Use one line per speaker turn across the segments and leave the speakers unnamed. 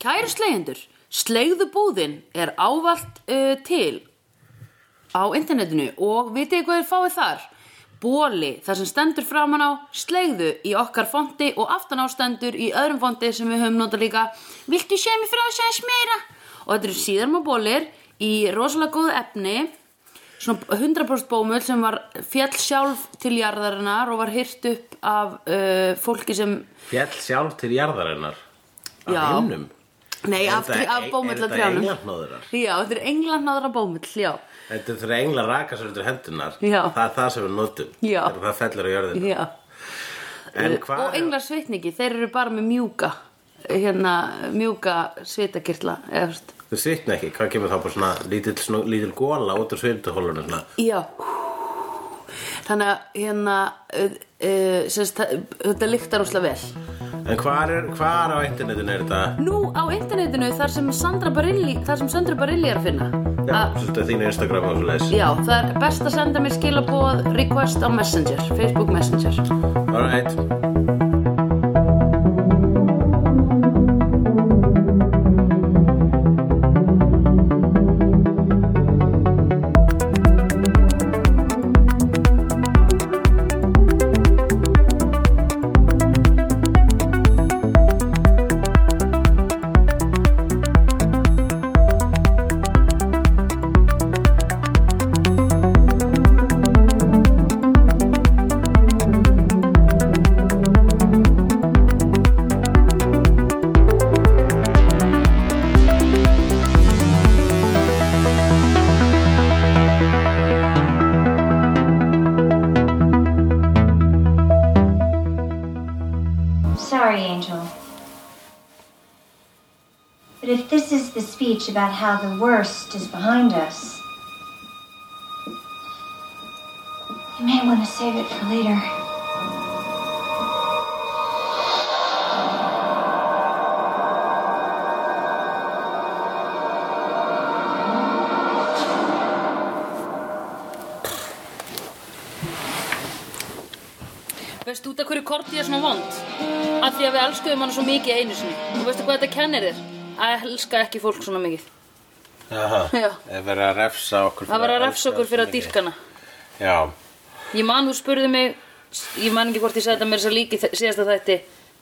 Kæru slegjendur, slegðu búðin er ávallt uh, til á internetinu og vitið þið hvað þið fáið þar? Bóli, þar sem stendur framan á, slegðu í okkar fondi og aftan á stendur í öðrum fondi sem við höfum notað líka Viltu sé mér frá þess aðeins meira? Og þetta eru síðarma bólir í rosalega góðu efni svona 100% bómull sem var fjall sjálf til jarðarinnar og var hyrt upp af uh, fólki sem
Fjall sjálf til jarðarinnar Af
Já.
hinnum
nei, af,
Er
tri-
þetta-
af bómullatrjánum
Er þetta englarnóðurar?
já, þetta er englarnáðra bómull já,
Þetta er þegar englar raka sér undir hendunar
Já.
Það er það sem við notum
Já.
Þegar það fellur á jörðina
já.
En hvað
og englar sveitningi, þeir eru bara með mjúka hérna, mjúka sveitakirla eða, þú veist.
Þau sýtna ekki, hvað kemur þá bara svona lítill, svona, lítill góla út úr svindahólunum svona
já þannig að hérna uh, uh, sérst, þetta lyktar óslega vel
En hvar, er, hvar á internetinu er þetta?
Nú á internetinu þar sem Sandra Barilli, þar sem Sandra Barilli er að finna
Já,
Að-
svolítið þínu Instagram og svo leys
Ah. Já, það er best að senda mér skilabóð request á Messenger, Facebook Messenger.
Alright
Sorry, Angel. But if this is the speech about how the worst is behind us, you may want to save it for later.
Veist út af hverju kortið er svona vond? Af því að við elskuðum hana svo mikið einu sinni. Og veistu hvað þetta kennir þér? Að elska ekki fólk svona mikið.
Aha.
Já.
Það verið að refsa okkur
Það var að
elska
refsa okkur fyrir að dýrka hana.
Já,
Ég man, þú spurði mig, ég man ekki hvort ég sagði þetta mér þess að líki í þe- síðasta þætti,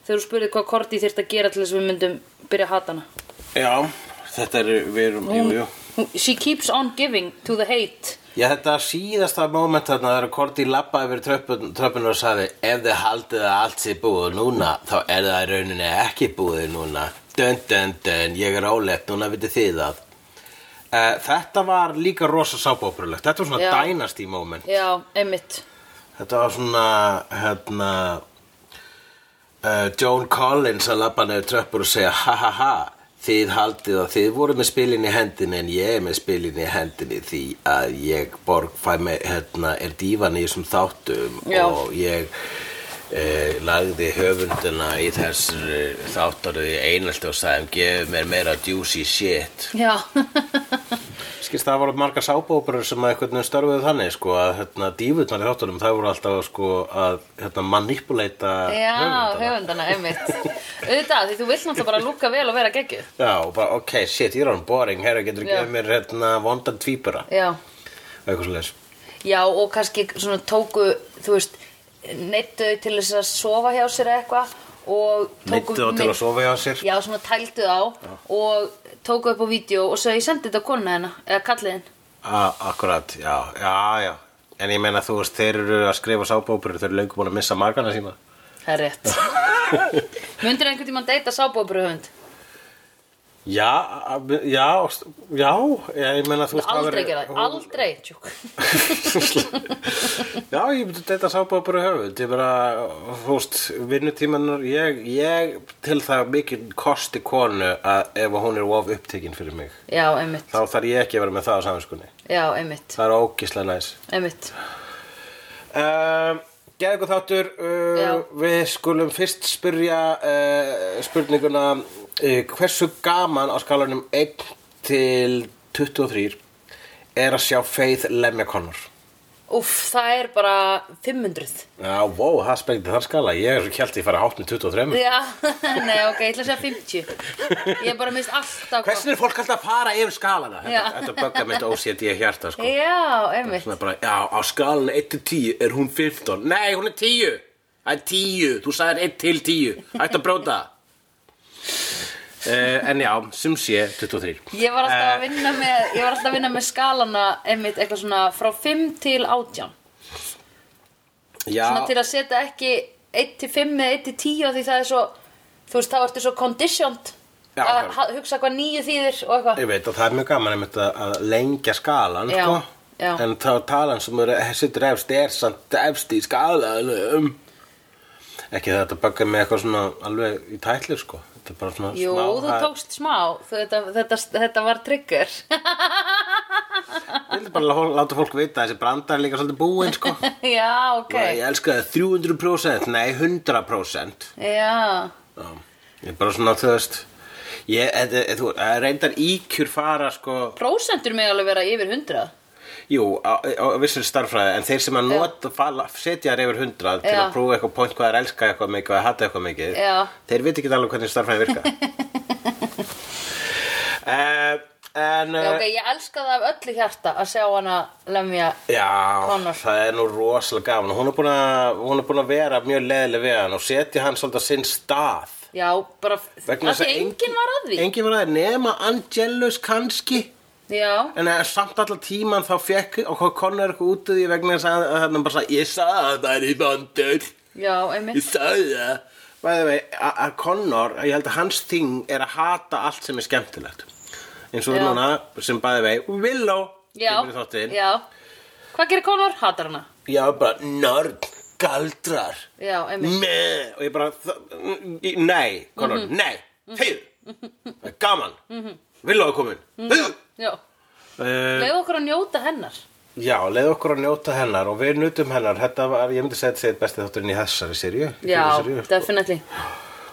þegar þú spurði hvað kortið þyrfti að gera til þess að við myndum byrja að hata hana.
já, þetta er, við erum, jú, jú
Hún- She keeps on giving to the hate.
Já, þetta síðasta moment þarna þegar Korti lappa yfir tröppun, tröppun og sagði ef þið haldið að allt sé búið núna þá er það í rauninni ekki búið núna dön, dön, dön, ég er álegt núna vitið þið það uh, Þetta var líka rosa sábóprulegt þetta var svona
Já.
dynasty moment
Já, einmitt.
þetta var svona hérna uh, Joan Collins að lappa nefnir tröppur og segja ha ha ha þið haldið að þið voru með spilin í hendin en ég er með spilin í hendinni því að ég borg fæ með hérna er dívan í þessum þáttum
Já.
og ég eh, lagði höfunduna í þessari þáttaröðu í einaldi og sagði gefur mér meira juicy shit
Já,
Skilst það voru margar sábóperur sem að einhvern veginn störfuðu þannig sko að hérna, dífurnar í þáttunum það voru alltaf sko að hérna, manipuleita
Já,
höfundana.
höfundana, einmitt Auðvitað, því þú vilt náttúrulega bara lúka vel og vera geggjuð
Já, og bara ok, shit, ég er án boring, herra, getur þú
Já.
gefið mér hérna vondan tvíbura
Já,
eitthvað svo leis
já og kannski svona tóku, þú veist neittu þau til þess að sofa hjá sér eða eitthvað og tóku
Neittu þá til
mynd-
að sofa hjá sér
Já, svona tældu á og tóku upp á vídeo og svo ég sendi þetta á konuna hennar eða kallið henn
A, Akkurat, já, já, já En ég meina þú veist, þeir eru að skrifa sábóperur þeir eru löngu búin að missa margana sína
Það er rétt Mundur einhvern tímann deyta sábóbruhund?
Já, a- já, já, ég meina þú veist
Aldrei gera það, aldrei tjúk.
Já, ég myndi þetta sá bara bara höfund ég bara, þú veist, vinnutímanar ég, ég til það mikið kosti konu að ef hún er of upptekinn fyrir mig
Já, einmitt
þá þarf ég ekki að vera með það á saminskunni
Já, einmitt,
það er ógislega næs
einmitt
um, Geða ykkur þáttur uh,
Já.
við skulum fyrst spyrja uh, spurninguna uh, hversu gaman á skalanum 1 til 23 er að sjá Faith lemja konur
Úff, það er bara 500
Já, wow, það sprengdi þann skala. Ég er hjælt ég fara hátt með 23.
Já, nei, ok, ég ætla að segja 50 Ég bara mist alltaf
Hversin er fólk alltaf að fara yfir skalana?
Já.
Þetta, þetta böggar mitt OCD hjarta, sko.
Já, einmitt
Svona bara, já, á skalan 1 til 10 er hún 15. Nei, hún er 10. Það er 10. Þú sagðir 1 til 10. Ætti að bróta. Uh, en já, sem sé, 23.
Ég var alltaf
Eh.
að vinna með, ég var alltaf að vinna með skalana einmitt eitthvað svona frá 5 til 18
Já,
Svona til að setja ekki 1 til 5 eða 1 til 10 af því það er svo þú veist, þá ertu svo conditioned
Já,
að
já.
ha- hugsa hvað nýju þýðir og eitthvað
ég veit að það er mjög gaman einmitt að- að lengja skalan,
Já,
sko.
já.
En þá talan sem er, sittur efst er samt efst í skalanum. Ekki það að þetta böggar með eitthvað svona alveg í tætlir, sko. Þetta er bara svona
Jú,
smá.
þú
það-
tókst smá, þú, þetta, þetta, þetta var trigger
Ég vildi bara lá- láta fólk vita að þessi brandar er líka svolítið búinn, sko.
Já, ok
Ég elska það 300% Nei, 100%
Já,
Já, Ég er bara svona, þú veist Ég, e, e, þú, e, reyndar íkjur fara sko,
prósentur með alveg vera yfir 100
jú, á, á, á vissur starffræði en þeir sem að nota, fala, setja þær yfir 100 til
Já.
að prófa eitthvað point hvað þær elska eitthvað mikið og hata eitthvað mikið
Já.
þeir viti ekki alveg hvernig starffræði virka uh, En
Já,
eh,
ok, ég elska það af öllu hjarta að sjá hana lemja
eh, Já,
Connor.
það er nú rosalega gaman hún er búin að, hún er búin að vera mjög leðileg við hann og setja hann svolítið á sinn stað
Já, bara
vegna
að því enginn var að því
enginn var að því, nema Angelus kannski
Já,
en eh, samt allan tíman þá fekk og hvað konar eitthvað út af því vegna þess að að hann bara sagði, ég sagði að það er í vandur
já, einmitt
ég sagði það Bæði vei, að Connor, ég held að hans þing er að hata allt sem er skemmtilegt eins og
Já.
núna sem bæði vei Willow
Já,
kemur í þáttinn.
já Hvað gerir Conor? Hatar hana
Já, bara nörd, galdrar
Já, einmitt Mhm.
Meh, og ég bara þ- nei, Conor, nei þeir, það er gaman vil á að komin
Mhm. Mm. Já,
uh,
leið okkur að njóta hennar
já, leið okkur að njóta hennar og við nutum hennar, þetta var, ég myndi segja þetta sé eitt besti þátturinn í þessari sirju
Já, definitely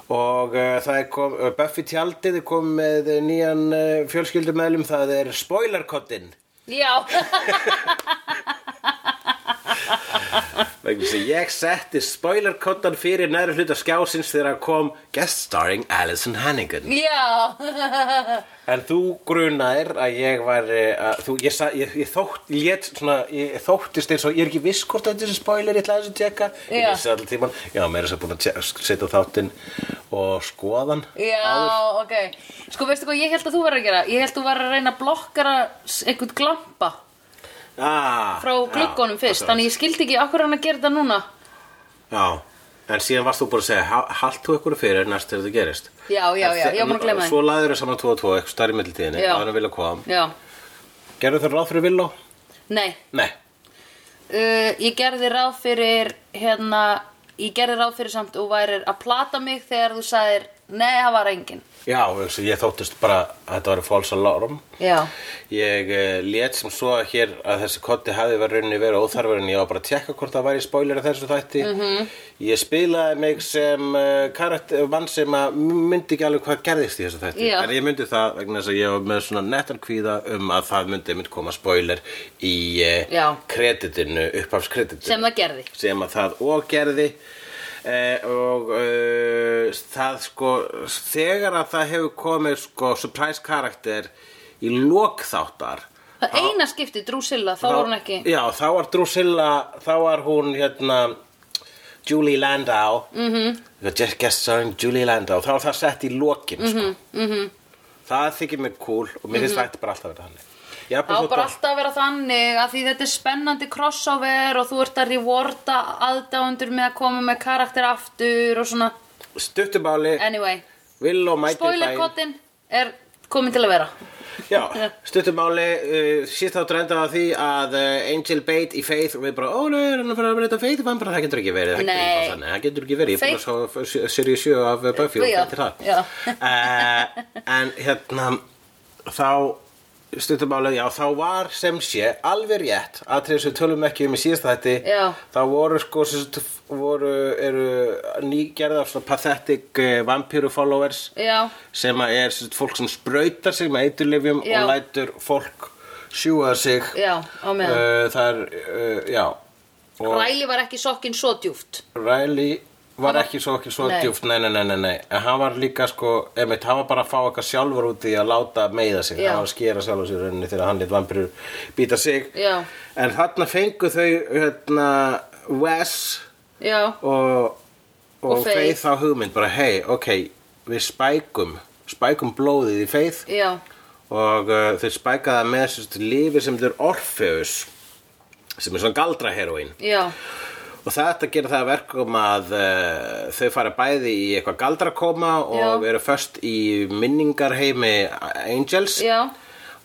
og uh, það er kom, uh, Buffy tjaldið er kom með eh, nýjan uh, fjölskyldumeðlum, það er spoilerkottinn
Já, Ah.
vegna þess að ég setti spoilerkottan fyrir næri hluta skjásins þegar hann kom guest starring Alison Hannigan
já
En þú grunaðir að ég var að, þú, ég, sa, ég, ég, þótt, ég, lét, svona, ég þóttist eins og ég er ekki viss hvort þetta er þessi spoiler, ég ætla aðeins að tjekka ég
Já.
vissi allir tíman, já, mér er svo búin að tjek- setja á þáttinn og skoðan
Já, ok Sko, veistu hvað ég held að þú verður að gera? Ég held að þú verður að reyna að blokkara s- einhvern glampa
ah,
frá gluggunum fyrst Þannig ég skildi ekki akkur hann að gera þetta núna
Já, en síðan varst þú búin að segja "Ha- Halt þú ykkur fyrir næst þegar það gerist
Já, já,
En
já,
þe-
ég var búin að gleyma
Svo
þeim
laður þau saman 2 og 2, eitthvað starf í millitíðinni
Já.
á hann að vilja kom
Já,
Gerðu þau ráð fyrir Villó?
nei
Nei,
uh, Ég gerði ráð fyrir hérna Ég gerði ráð fyrir samt og værir að plata mig þegar þú sagðir Nei, það var engin
já, eins og ég þóttist bara að þetta var false alarm
Já,
Ég uh, lét sem svo hér að þessi kotti hafi verið rauninni verið óþarfur en ég var bara að tjekka hvort það væri spoiler að þessu þætti.
Mhm.
-hmm. Ég spilaði mig sem uh, karakter, mann sem að myndi ekki alveg hvað gerðist í þessu þætti.
Já.
En ég myndi það vegna þess að ég var með svona nettan kvíða um að það myndi mynd koma spoiler í uh,
Já.
kreditinu, upphafskreditinu
sem það gerði
sem að það og gerði eh, og eh, það sko þegar að það hefur komið sko surprise karakter í lokþáttar
Það eina skipti, Drusilla, þá var hún ekki
Já, þá var Drusilla, þá var hún hérna Julie Landau mm
Mhm.
-hmm. Just guest starring Julie Landau þá var það sett í lokin
Mhm,
sko. mm -hmm. það þykir mér cool og mér finnst þetta bara alltaf að vera þannig
Það Mhm. á bara alltaf að vera þannig að því þetta er spennandi crossover og þú ert að rewarda aðdáundur með að koma með karakter aftur og svona
Stuttumáli,
Anyway,
vill og mæti
spoilerkottin er komin til að vera
Já, stuttumáli, uh, síðst þá drenda á því að uh, Angel beit í Faith og við bara, ó, nei, er hann að fara að breyta Faith og hann bara, það getur ekki verið, það getur
Nei.
ekki, þannig, það getur ekki verið, ég
Faith-
er búin að sjá Sirius 7 af uh, Buffy og
Já,
beintir það.
já.
Eh, en hérna, þá stuttumáli, já, þá var sem sé alveg rétt, aðtrið sem við tölum ekki um í síðast þætti,
Já.
þá voru sko, sem sagt, voru, eru nýgerðar svona pathetic uh, vampíru followers
Já,
sem að er sem sagt, fólk sem sprautar sig með eiturlifjum
Já.
og lætur fólk sjúa sig
Já, á meðan.
Eh, það er, eh, já og
Ræli var ekki sokkinn svo djúft
Riley var ekki svo ekki svo
Nei.
djúft nei, nei, nei, nei, nei, en hann var líka sko einmitt, hann var bara að fá eitthvað sjálfur út í að láta meiða sig,
Já.
hann var að skera sjálfur sér í rauninni þegar hann lit vampirur býta sig
Já.
en þarna fengu þau hérna, Wes
Já,
og, og,
Og
og
Faith.
Faith á hugmynd bara, hei, ok, við spækum spækum blóðið í Faith
já,
og uh, þau spækaða með sérst, lífi sem þau er Orfeus sem er svona galdra heroín
já,
Og þetta gerir það að verkum að uh, þau fara bæði í eitthvað galdrakoma og
Já.
eru först í minningarheimi Angels.
Já.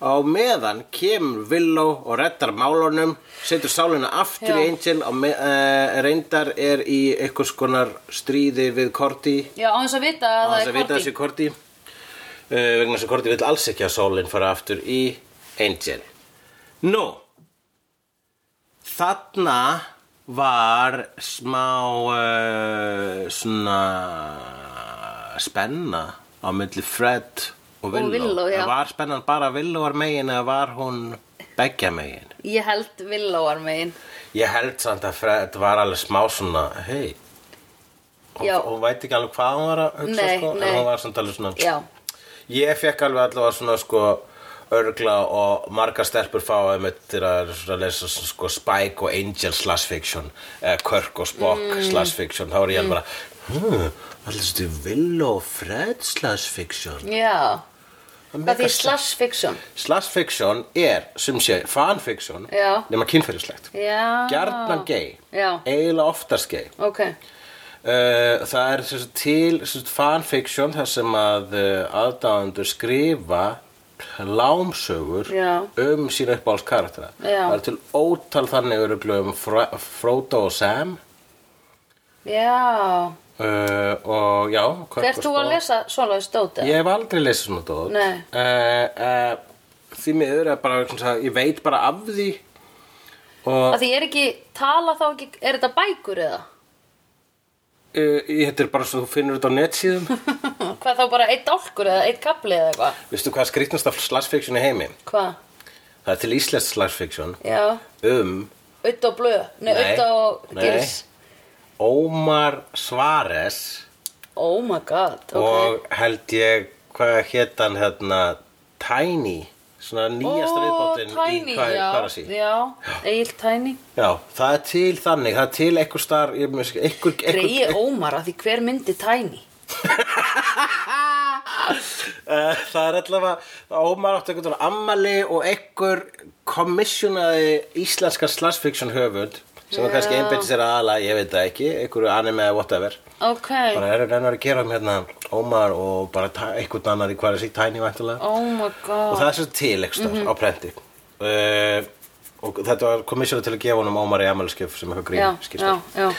Á meðan kemur Willow og reddar málunum, setur sálina aftur
Já.
í Angel og me, uh, reyndar er í einhvers konar stríði við Korti.
já, á þess að vita að
Á
það
þess
er
að vita
korti
þessi Korti. Uh, vegna þessi Korti vill alls ekki að sálinn fara aftur í Angel. Nú. Þarna var smá uh, svona spenna á milli Fred og Willow.
Willow, já.
En Var spennan bara Willowar megin eða var hún beggja megin?
Ég held villóar megin
Ég held samt að Fred var alveg smá svona, hei, hún,
Já.
hún veit ekki alveg hvað hún var að hugsa
Nei,
sko,
nei.
en hún var samt alveg svona,
Já,
Ég fekk alveg allavega svona sko örgla og margar stelpur fá einmitt til að svona lesa svona, sko Spike og Angel slash fiction eða Kirk og Spock
Mm.
slash fiction þá er ég alveg bara hmm, allir þetta er Will og Fred slash fiction
já
Það
Hvað
meikar
því slash fiction
slash fiction er sem sé fanfiction
Já.
nema kynferðislegt
Já
gjarnan gay
Já.
eiginlega oftast gay
Ok,
Uh, það er sem sagt, til sem sagt, fanfiction þar sem að uh, aðdáðandur skrifa lámsögur
Já.
um sína uppáhalds karaktera
Já.
það er til ótal þannig öruglu um Fro Frodo og Sam
já
uh, og já Kirk
Hvert
og
þú
Spock.
að lesa svoleiðis dóta?
Ég hef aldrei lesið svona dót
Nei.
uh, uh, Því miður er bara svona, ég veit bara af því og
Að því er ekki, tala þá ekki, er þetta bækur eða?
uh, þetta er bara svo þú finnur þetta á netsíðum
Hvað þá bara eitt dálkur eða eitt kapli eða eitthvað?
Veistu hvað skrýtnast af slagsfiction í heimi?
Hvað?
Það er til íslensk slagsfiction
Já,
um
autt og blöð, nei,
Nei,
autt og
nei.
gils
Ómar Svares
Oh my god, ok
og held ég hvað hétt hann hérna Tiny svona nýjast
Ó,
reyðbótin
Tiny,
í hvað,
já,
hvað er sí
Já, Egil Tiny
Já, það er til þannig, það er til einhver star ég með sig- einhver,
Greyi
einhver,
Ómar að því hver myndi Tiny
uh, það er allavega Ómar átti einhvern veginn ammali og einhver kommissionaði íslenska slagsfiction höfund sem er kannski einbætti sér aðala, ég veit það ekki einhverju anime eða whatever
Ok,
bara er reynar að gera um hérna Ómar og bara ta- einhvern annar í hvað er sí Tiny væntulega
oh my
og
god
það er svo til ekstra mm
Mhm.
á prenti uh, og þetta var komissjónu til að gefa honum Ómar í Amalskjöf sem
Já,
eitthvað grín
já,
skýrst
já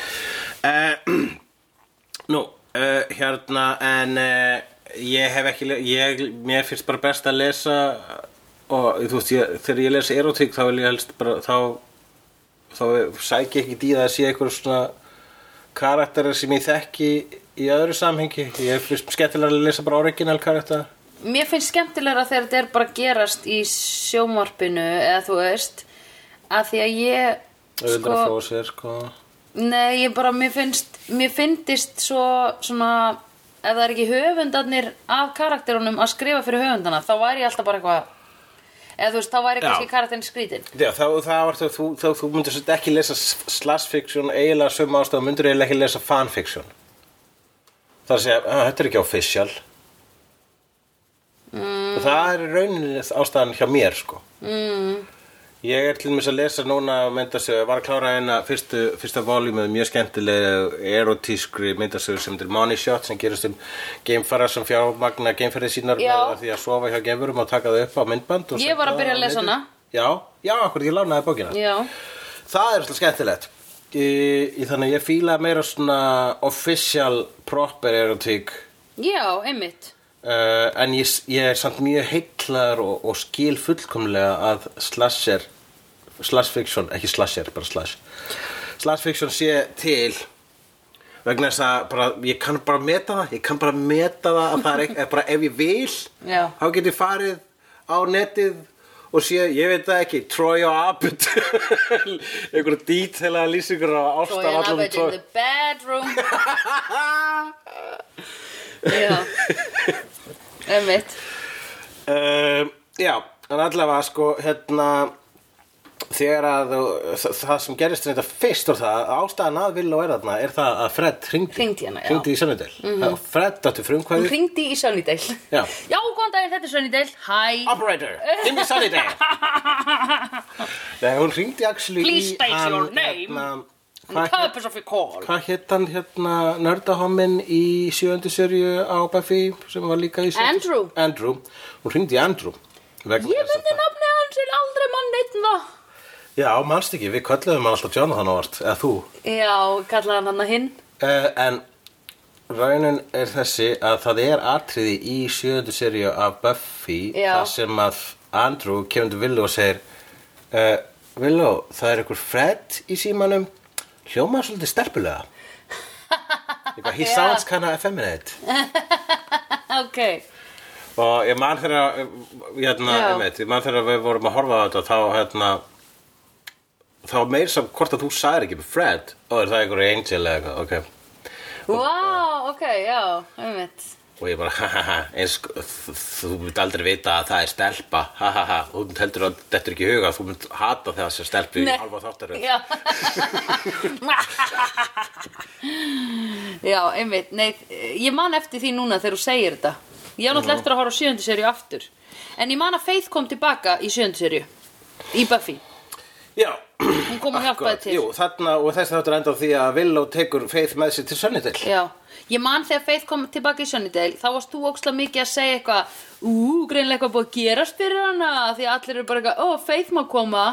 uh, Nú, uh, hérna en uh, ég hef ekki le- ég, mér finnst bara best að lesa og þú veist, ég, þegar ég les erotík þá vil ég helst bara þá, þá sæki ég ekki dýða að sé eitthvað svona karakterar sem ég þekki í öðru samhengi ég finnst skemmtilega að lesa bara original karakter
Mér finnst skemmtilegra þegar þetta er bara að gerast í sjómarpinu eða þú veist að því að ég
auðvitað að fá sér sko
Nei, ég bara, mér finnst, mér finnst svo svona, ef það er ekki höfundarnir af karakterunum að skrifa fyrir höfundana, þá væri ég alltaf bara eitthvað, eða þú veist, þá væri
Já.
kannski karakterin skrítin.
Já, þá, þá, þá, þú, þá þú myndir svolítið ekki lesa slagsfiksjón eiginlega sömu ástæðu myndir eiginlega ekki lesa fanfiksjón Það er að segja, "Ah, þetta er ekki official mm. Það er í rauninni ástæðan hjá mér sko mm. Ég er til mér að lesa núna myndasögu, var að klára eina fyrstu, fyrsta voljúmið mjög skemmtileg erotískri myndasögu sem þetta er Money Shot sem gerist um geimfara sem fjármagna geimferði sínar
Já.
með því að sofa hjá geimfurum og taka þau upp á myndband og
Ég var að
senda
byrja að
á
lesa
netið.
hana.
Já, já, akkur ég lánaði bókina
Já,
Það er alltaf skemmtilegt í, í Þannig að ég fíla meira svona official proper erotík
já, einmitt.
uh, En ég, s- ég er samt mjög heillar og, og skil fullkomlega að slasher Slash fiction, ekki slasher, bara slash Slash fiction sé til vegna þess að bara, ég kann bara meta það ég kann bara meta það að það er, ekki, er bara ef ég vil
Já.
þá get ég farið á netið og sé, ég veit það ekki, Troy og Abbott einhverja dítela lýsingur á ást af
Trojan
allum
Abbott in the bedroom Já Emmitt
um, Já, en allavega sko hérna þegar að þú- það, það sem gerist þetta fyrst og það að ástæðan að vilja og er þarna er það að Fred hringdi
Hringdi í hana, já. Mhm.
hringdi í Sunnudel mm -hmm. Fred dættu
Hún
frumkvæði
hringdi í Sunnydale
Já.
Já, góðan daginn, þetta er Sunnydale Hæ
Operator, give me Sunnudel Nei, hún hringdi actually
Please
í
state
hann,
your name.
hérna,
The
hvað hét-
purpose of your call
Hvað hétt hann hérna nördahommin í sjöndu serju á Buffy sem var líka í sjöundu-
Andrew.
Andrew, hún hringdi í Andrew Vegna
Ég
þess að
myndi
það-
nafni hans er aldrei mann neitt um það
Já, manst ekki, við kölluðum hann alltaf Jonathan ávart, eða þú
Já, kallaði hann hann að hinn
uh, En raunin er þessi að það er atriði í sjöndu serju af Buffy
Já.
þar sem að Andrew kemur til Willow og segir uh, Willow, það er einhver Fred í símanum hljóma svolítið stelpulega Eitthvað, he
Já.
sounds kinda effeminate
Ok
og ég man þegar hérna,
Já.
einmitt, ég man þegar við vorum að horfa á þetta þá hérna þá meir sem hvort að þú sagðir ekki með Fred og er það einhverju angel eða eitthvað ok.
Wow, ok, já, einmitt
og ég bara hahaha eins, þú- þú mynd aldrei vita að það er stelpa hahaha, þú mynd heldur að þetta er ekki í huga þú mynd hata þegar þessi stelpu
Nei.
í halva þáttaröð
Já Já, einmitt Nei, ég man eftir því núna þegar þú segir þetta Ég á náttúrulega eftir að horfa á sjöndu serju aftur En ég man að Faith kom tilbaka í sjöndu serju Í Buffy
já,
Hún kom og hjálpaði
akkurat,
til
jú, þarna og þessi þáttur enda á því að Willow tekur Faith með sér til Sunnydale
Já, ég man þegar Faith kom tilbaka í Sunnydale Þá varst þú óksla mikið að segja eitthvað Ú, greinlega eitthvað búið að gerast fyrir hana Því að allir eru bara eitthvað, ó, Faith má koma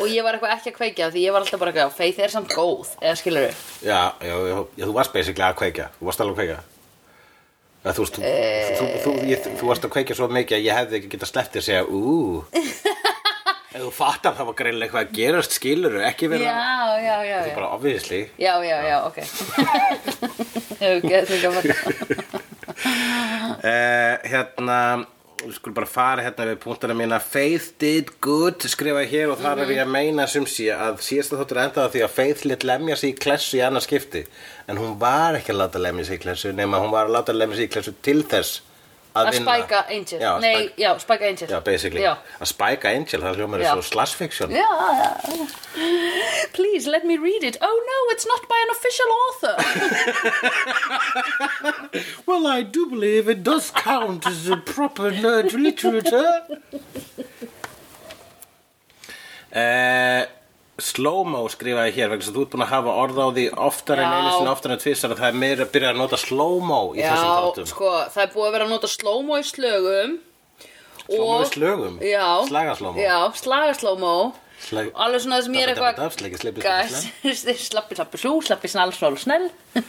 Og ég var eitthvað ekki að kveikja Því ég var alltaf bara eitthvað, Faith er samt góð Eða skilur við
Já, já, já, já, þú varst basically að kveikja Þú varst alveg að kveikja Eða, Þú veist, þú, þú, þú, ég, þú varst að kveikja svo mikið að ég hefði ekki getað sleppti að segja Ú Ef þú fattar það var greinlega eitthvað að gerast skilur ekki vera
Já, já, já, já.
Þú bara obviously
Já, já, já, ok Ég get ekki að fara
uh, Hérna Við skulum bara fara hérna við punktana mína Faith did good skrifa hér og þar er ég að meina sem sé að síðast að þáttur endaði á því að Faith lit lemja sig í klessu í annars skipti en hún var ekki að láta lemja sig í klessu nema hún var að láta lemja sig í klessu til þess að,
Að
vinna.
spæka Angel
já, að
Nei,
spæka-
já, spæka Angel
Já, basically
Já,
Að spæka Angel, það hljómar
Já.
er svo slagsfiksjón
já Please, let me read it Oh no, it's not by an official author
Well, I do believe it does count as a proper nerd literature. uh, Slow-mo skrifaði hér vegna sem þú ert búin að hafa orð á því oftar en
Já.
einu sinni oftar en tvisar að það er meira að byrja að nota slow-mo í þessum
Já,
þáttum.
sko, það er búið að vera að nota slow-mo í slögum
Slow-mo
og-
í slögum?
Já
Slagaslómó?
Já, slaga slow-mo
Slag-
Alveg svona það sem ég er
Dabbi,
eitthvað
dabbi, dabbi, sleiki, sleiki,
Guys, Slappi, slappi, slú, slappi, snall, svol, snell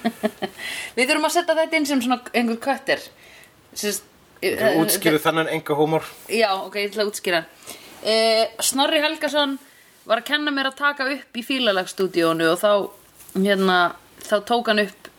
Við þurfum að setja þetta inn sem svona einhver köttir Sérst
Þú útskýrðu þannan enga hómor.
Já, ok, ég ætla að útskýra. Uh, Snorri Helgason var að kenna mér að taka upp í fílalagsstúdíónu og þá, hérna, þá tók hann upp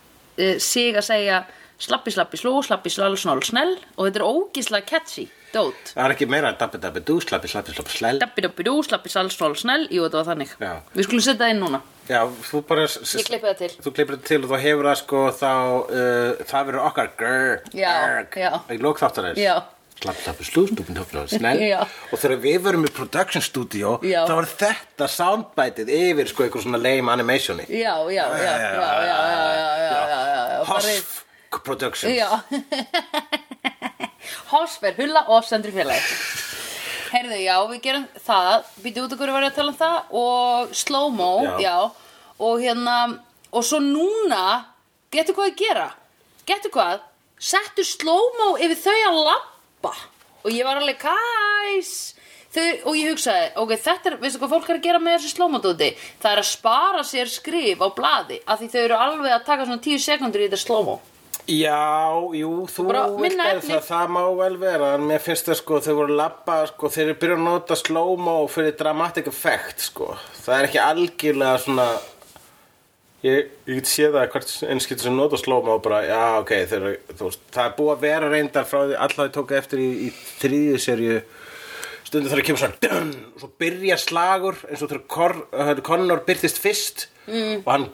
uh, sig að segja slappi, slappi, sló, slappi, slal, snól, snell og þetta er ógislega catchy, dót.
Það er ekki meira dabbi dabbi dú, slappi slappi slappi slell.
Dabbi, dabbi, dú, slappi, sal, snól, snell, jú, þetta var þannig.
Já.
Við skulum setja það inn núna.
Já, þú bara... s- s-
Ég klippi það til.
Þú klippir þetta til og þá hefur það sko þá, uh, það verður okkar grr,
Já, já.
í lók þáttarins.
Já.
Slapp, slappi, slú, stúpin, höfnum, snell.
Já.
Og þegar við verum í production studio,
Já.
þá er þetta soundbætið yfir sko einhver svona lame animationi.
Já, já, já, já, já, já, já, já, já, já, já. bara-
Hoff Productions.
Já Horsfer, hulla og sendri félagi Herðu, já, við gerum það Býtu út okkur var ég að tala um það Og slow-mo,
Já.
já. Og hérna, og svo núna Getur hvað að gera Getur hvað, settu slow-mo Yfir þau að labba Og ég var alveg, guys Þau, og ég hugsaði, ok, þetta er, veistu hvað fólk er að gera með þessu slómodóti? Það er að spara sér skrif á blaði af því þau eru alveg að taka svona 10 sekundur í þetta slómó.
Já, jú, þú
Bara
vilt
minna
að
efni.
það, það má vel vera, en mér finnst það sko, þau voru labba, sko, þeir eru byrjað að nota slow-mo fyrir dramatic effect, sko. Það er ekki algjörlega svona, ég, ég get séð það hvert einskilt sem nota slow-mo bara, já, ok, þeir, eru- þú veist, það er búið að vera reyndar frá því, alltaf ég tók eftir í, í þriðju serju stundum þarf að kemur svona dun, og svo byrja slagur eins og þegar Cor, uh, Connor byrtist fyrst mm. og hann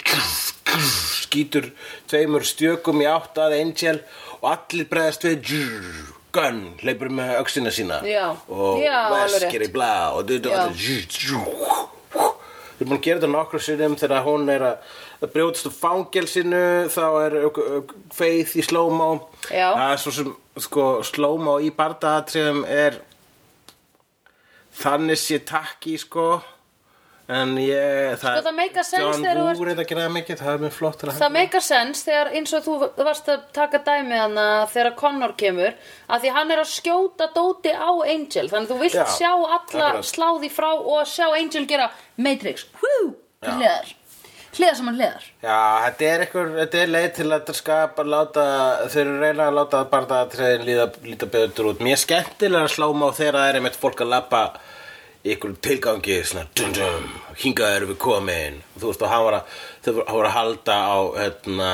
skýtur tveimur stjökum í átt að Angel og allir breðast við djúr, gun, hleypur með öxina sína
Já.
og
Já, alveg rétt.
vesker í bla og
Já.
þetta og þetta djú, djú, hú. Við erum búin að gera þetta nokkru sinnum þegar hún er að, að brjótast úr fangelsinu þá er ök- ök- feið í slow-mo
Já.
Það er svo sem sko, slow-mo í bardaðatriðum er þannig sé takki sko en ég
Sko, það make a sense þegar þú
John
ert-
Woo reyndi að gera það mikið það er mjög flott til að
Það meikar sens þegar eins og þú varst að taka dæmi hana þegar Connor kemur að því hann er að skjóta dóti á Angel þannig að þú vilt
Já,
sjá alla
akkurat.
slá því frá og sjá Angel gera Matrix, hú, til hliðar hliðar sem hann hliðar
Já, þetta er, einhver, þetta er leið til að skapa, láta, þau eru að reyna að láta barndagatriðin líða, líta betur út. Mér er skemmtilega að sláma á þeirra það er einmitt fólk að lappa í einhverjum tilgangi, svona dum dum, hingað erum við komin. Og þú veist, og hann var að, þau voru- hann var að halda á, hérna,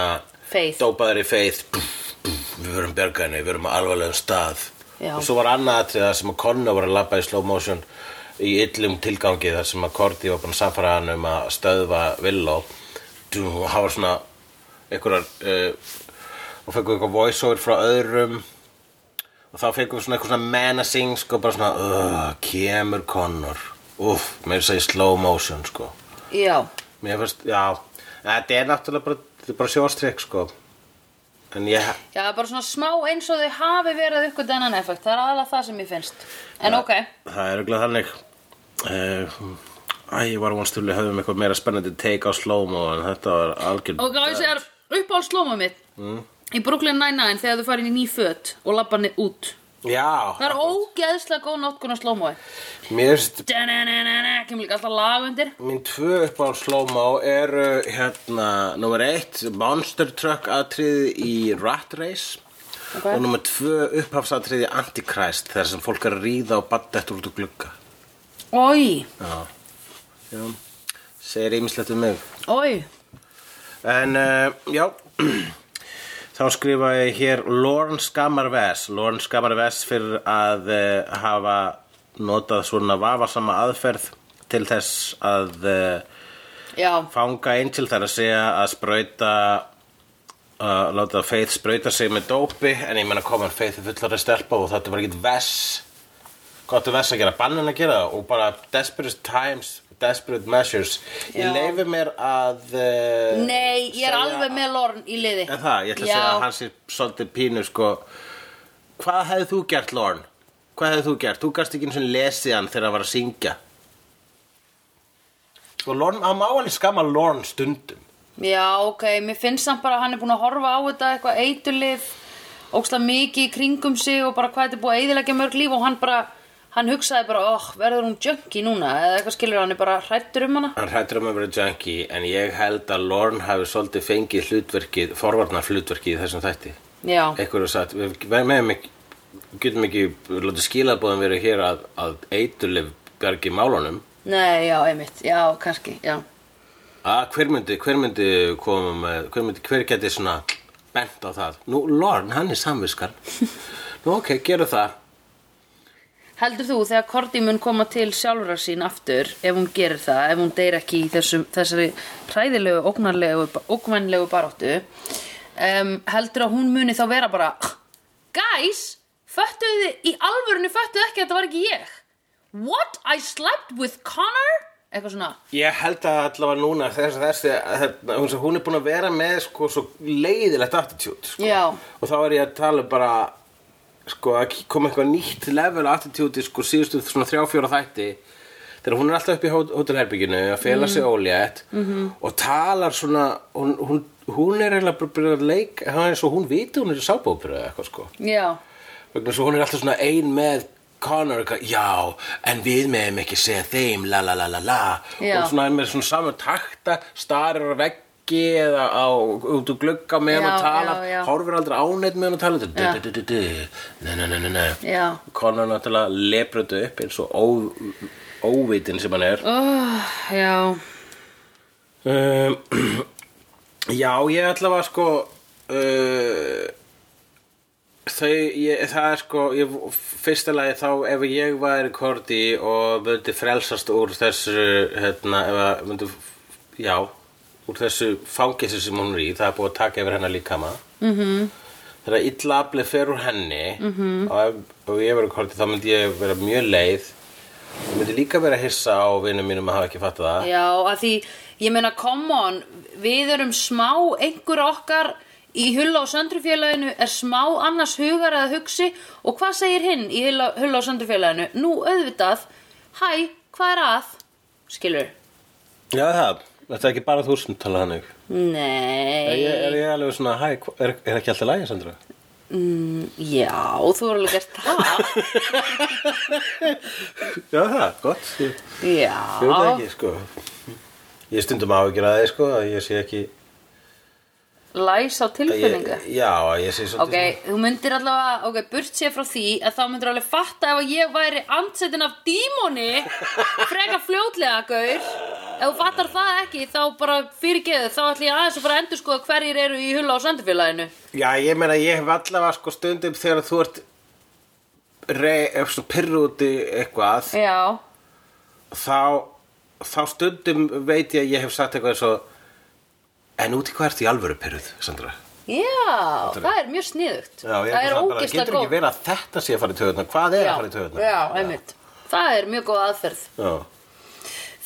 Faith.
dópaður í feið, við verum bergani, við verum á alvarlegum stað.
Já.
Og svo var annað atrið það sem að Connor var að lappa í slow motion í illum tilgangi þar sem að Korti var búin að safara hann um að stöðva Villó og hafa svona einhverjar uh, og fengum eitthvað voiceover frá öðrum og þá fengum við svona eitthvað svona menacing sko bara svona uh, kemur Connor uff, mér segi slow motion sko
Já,
mér finnst, já þetta er náttúrulega bara, þetta er bara sjóstrík sko en ég
já, bara svona smá eins og þau hafi verið ykkur dennan effekt, það er aðalega það sem ég finnst en ok,
Það er auðvitað þannig uh, Æ, ég var vonst til að við höfum eitthvað meira spennandi take á slow-mo en þetta var algjör
og glæði sér upp á slóma mitt
Mm.
í Brooklyn Nine-Nine þegar þú farin í ný föt og labba niður út
Já,
það er ógeðslega góð nótkun á slómaði
mér finnst
Da-na-na-na-na, kemur líka alltaf lag undir
Mín tvö upp á slow-mo eru hérna, nummer eitt Monster Truck atriði í Rat Race
Ok.
og nummer tvö upphafsatriði í Antichrist þar sem fólk er að ríða og badda eftir út úr glugga
Oi,
Já, já segir ýmislegt um mig
oi
En uh, já, þá skrifa ég hér Lawrence Gammar Vess. Lawrence Gammar Vess fyrir að uh, hafa notað svona vafasama aðferð til þess að uh,
Já,
fanga Angel þar að segja að sprauta að láta Faith sprauta sig með dópi en ég menna komin Faith er fullari stelpa og þetta var ekkert Vess gott að Vess að gera, bannin að gera það og bara desperate times, desperate measures
Já.
ég leifi mér að uh,
nei, ég er
segja-
alveg með Lorne í liði
En það, ég ætla að segja að hann sé svolítið pínu sko Hvað hefði þú gert, Lorne? Hvað hefði þú gert? Þú gast ekki eins og lesið hann þegar hann var að syngja Sko, Lorne, hann má alveg skamma Lorne stundum
Já, ok, mér finnst samt bara að hann er búin að horfa á þetta eitthvað eiturlif óksla mikið í kringum sig og bara hvað þetta er búið að eiðilegja mörg líf og hann bara hann hugsaði bara, oh, verður hún junkie núna eða eitthvað skilur hann er bara hrættur um hana
Hann hrættur um að vera junkie En ég held að Lorne hafi svolítið fengið hlutverkið Forvarnar hlutverkið í þessum þætti
Já,
Ekkur er sagt, við við megum ekki Getum ekki, við látum skilaboðum verið hér að, að eiturlif bjargi málunum
nei, já, einmitt, já, kannski, já
að hver myndi, hver myndi koma með, hver myndi, hver geti svona bent á það, nú Lorne, hann er samviskan nú ok, gerum það
Heldur þú þegar Korti mun koma til sjálfra sín aftur ef hún gerir það, ef hún deyr ekki í þessum, þessari hræðilegu, ógnarlegu, ógnvænlegu baróttu um, heldur að hún muni þá vera bara Guys, föttuðu þið, í alvörinu föttuðu ekki að þetta var ekki ég What, I slept with Connor? Eitthvað svona
ég held að allavega núna þess, þessi, hérna, hún, hún er búin að vera með sko, svo leiðilegt attitude sko.
Já.
og þá er ég að tala um bara sko, að koma eitthvað nýtt level attitude í, sko, síðustu svona þrjá fjóra þætti þegar hún er alltaf upp í hó- hótelherbygginu að fela sig ólétt -hmm. og talar svona hún, hún, hún er eiginlega bara að byrja að leik hann er svo hún viti hún er í sábópyrðu eða eitthvað sko
Já,
vegna svo hún er alltaf svona ein með Connor eitthvað, já, en við meðum ekki segja þeim, la la la la la
Já.
og svona er með svona saman takta starir á veggi eða á, út úr glugga með hann
Já,
og tala
já, já.
horfir aldrei áneitt með hann og tala du, du,
Já.
du, du, du, du. ne ne ne ne ne
já
Connor náttúrulega leprötu upp eins og ó, óvitin sem hann er
oh, Já,
Um, já, ég ætla að sko uh, eh, Þau, ég, það er sko, ég, fyrsta lagi þá ef ég væri Korti og myndi frelsast úr þessu, hérna, ef að myndi, já, úr þessu fangissu sem hún er í, það er búið að taka yfir hennar líkama. Mm -hmm. Þegar illa aflið fer úr henni -hmm. og ef, ef ég væri Korti þá myndi ég vera mjög leið. Ég myndi líka vera hissa á vinnum mínum að hafa ekki fattað það.
Já, að því, ég meina, come on, við erum smá, einhver okkar í hulla og söndrufélaginu er smá annars hugar eða hugsi og hvað segir hinn í hulla, hulla og söndrufélaginu? Nú auðvitað, hæ, hvað er að? Skilur?
Já, það, þetta er ekki bara þú sem tala þannig. Er ég,
Nei,
er ég alveg svona, hæ, hva- er, er ekki alltaf lægið, Sandra?
já, þú er alveg gert það.
Já, það, gott. Ég, ég veit það
Já,
ekki, sko. Ég stundum áhyggjur að þeir, sko, að ég sé ekki...
læs á
að Ég,
tilfinningu.
já, að ég sé
Ok,
svolítið...
þú myndir allavega, ok, burt sér frá því að þá myndir alveg fatta ef að ég væri andsetin af dímoni frekar fljótlega, gaur ef þú fattar það ekki, þá bara fyrirgeðu, þá ætlum ég aðeins að fara að endur skoða hverjir eru í hulla á söndufélaginu
Já, ég meina, ég hef allavega, sko, stundum þegar þú ert rey, ef svo pyrru úti eitthvað,
Já,
þá, þá stundum veit ég að ég hef sagt eitthvað eins og En úti hvað ert í alvöru pyrruð, Sandra?
já, það er mjög sniðugt
Já, ég
það er
bara,
ógislega
Getur ekki
góð
verið að þetta sé að fara í töðuna? Hvað er að fara í
já,
töðuna?
já, einmitt Það er mjög góð aðferð
já.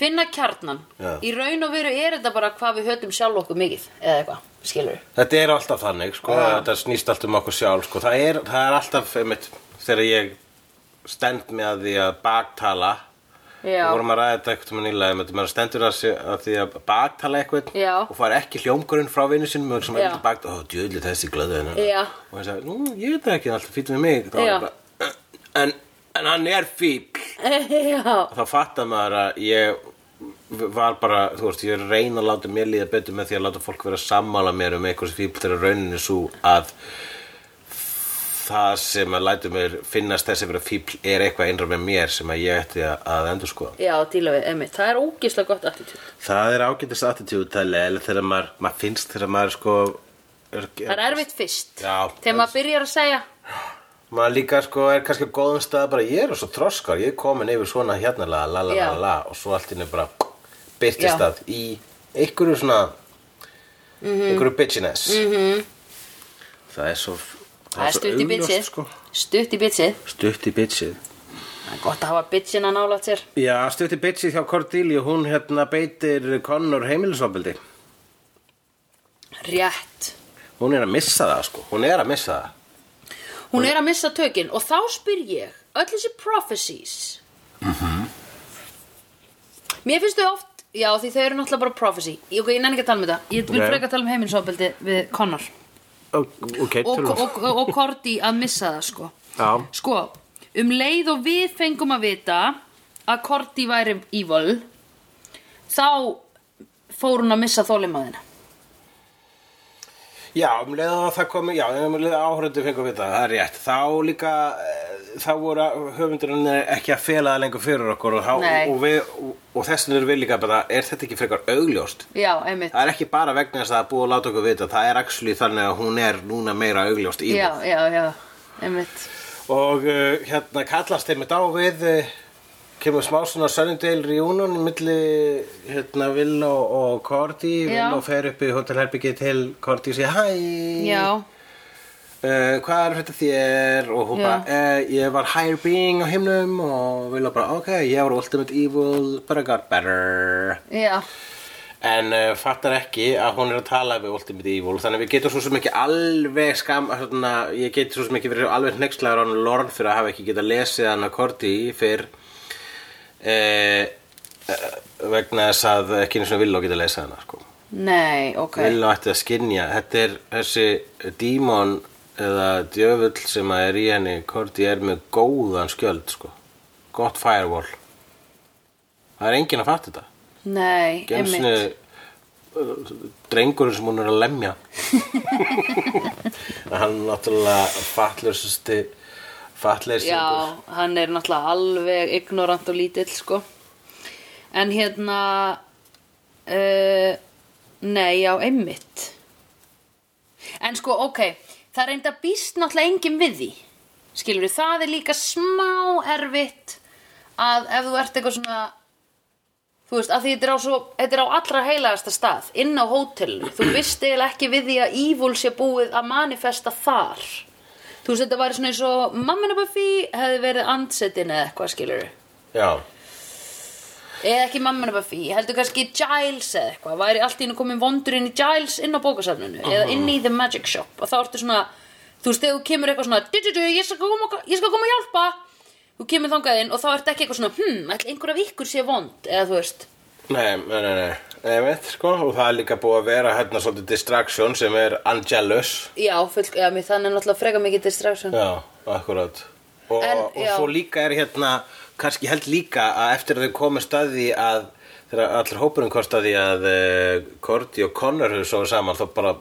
Finna kjarnan
Já.
Í raun og veru er þetta bara hvað við hötum sjálf okkur mikið eða eitthvað, skilur
Þetta er alltaf þannig, sko, þetta snýst alltaf um okkur sjálf, sko, það er, það er alltaf, einmitt, þegar ég stend með að því að baktala, við
Já,
vorum að ræða þetta eitthvað mann í lagi, með maður stendur að, sé- að því að baktala eitthvað
Já.
og fara ekki hljómgurinn frá vinnu sinum og sem
Já.
eitthvað bakt, ó, djöðli þessi glöðu hennar.
Já.
Og hann sagði, nú, ég veit það ekki, það er alltaf fýtt með mig, þá er
Já.
ég bara, en, en hann er fýtt
já
þá fattar maður að ég var bara, þú veist, ég er að reyna að láta mér líða betur með því að láta fólk vera að sammála mér um eitthvað sem fíbl þegar rauninni er svo að það sem að lætu mér finnast þess að vera fíbl er eitthvað einra með mér sem að ég ætti að- að endur skoða.
Já, díla við, emmi, það er ógislega gott attitúd
Það er ágætis attitude tæli eða þegar maður, maður finnst þegar maður sko er,
Það er erfitt fyrst
Já.
Þegar maður byrjar að segja
maður líka sko er kannski á góðum stað bara ég er svo þroskar, ég er komin yfir svona hérna la la la la
Já.
la og svo allt inni bara
Já.
byrtist það í einhverju svona
Mhm.
einhverju bitchiness -hmm. það er svo
Það er
svo
stutt í
augljóst,
bitchið
sko.
Stutt í bitchið
stutt í bitchið
Það er gott að hafa bitchina nálægt sér
já, stutt í bitchið hjá Cordelia hún hérna beitir Connor heimilisofbildi
Rétt
hún er að missa það sko, hún er að missa það
Hún er að missa tökin og þá spyr ég Öll þessi prophecies
Mhm.
Mér finnst þau oft Já, því þau eru náttúrulega bara prophecy Ég, okay, ég nenni ekki að tala um þetta Ég vil
Ok.
okay. freka að tala um heimilisofbeldi við Connor
ok,
og, og, og, og Korti að missa það sko
Já.
Sko, um leið og við fengum að vita að Korti væri evil þá fór hún að missa þólimaðina
Já, um leið að það komi, já, um leið að áhörundu fengum við það, það er rétt. Þá líka, eh, þá voru höfundurinn ekki að fela það lengur fyrir okkur og, þá,
Nei.
og, við, og, og þessin eru við líka bara, er þetta ekki frekar augljóst?
Já, einmitt
Það er ekki bara vegna þess að það er búið að láta okkur vita, það er actually þannig að hún er núna meira augljóst í
Já, já, já, einmitt
Og uh, hérna kallast einmitt á við, uh, kemur smá svona Sunnydale reunion milli hérna Vill og, og Korti,
Já.
Vill og fer upp í hotelherbyggi til Korti og segja hæ.
Já,
uh, hvað er þetta þér og hún
Já.
bara, uh, ég var higher being á himnum og vilja bara, ok, ég var ultimate evil, but I got better
já,
en uh, fattar ekki að hún er að tala við ultimate evil, þannig að við getum svo sem ekki alveg skam, svona, ég get svo sem ekki verið alveg hneykslaður á hann Lorne fyrir að hafa ekki getað lesið hann að Korti fyrr uh, uh, vegna þess að ekki eins og vilja geta lesið hann sko.
nei, ok
Vil og ætti að skinja Þetta er þessi dímon eða djöfull sem að er í henni Korti er með góðan skjöld sko. gott firewall Það er enginn að fatta þetta
Nei,
Gensinu
einmitt
uh, drengurinn sem hún er að lemja Hann er náttúrulega fatlaususti fatleysingur
Já, hann er náttúrulega alveg ignorant og lítill sko En hérna eh, uh, Nei, já, einmitt En sko, ok það er enda býst náttúrulega enginn við því skilur við, það er líka smá erfitt að ef þú ert eitthvað svona þú veist, að því þetta er á, svo, þetta er á allra heilagasta stað inn á hótelinu, þú veist eiginlega ekki við því að ívul sé búið að manifesta þar þú veist, þetta væri svona eins og mammin og Buffy hefði verið andsetin eða eitthvað skilur við
Já,
Eða ekki mamman og Buffy, ég heldur kannski Giles eða eitthvað, væri allt í hennu komin vondur inn í Giles inn á bókasafninu eða inn í The Magic Shop og þá ertu svona, þú veist, þegar þú kemur eitthvað svona, du, du, du, ég skal koma, og- ég skal koma að hjálpa, þú kemur þangað inn og þá ertu ekki eitthvað svona, hm, ætli einhver af ykkur sé vond, eða þú veist,
nei, nei, nei, nei. Nei, veit, sko, og það er líka búið að vera hérna svolítið distraction sem er Angelus.
já, full, já, mér þannig er náttúrulega freka mikið distraction.
Já, akkurat. Og,
En,
og
já.
svo líka er hérna, kannski held líka að eftir að þau komið staði að, þegar allir hópurinn komið staði að uh, Cordy og Connor höfðu svo saman, þá bara,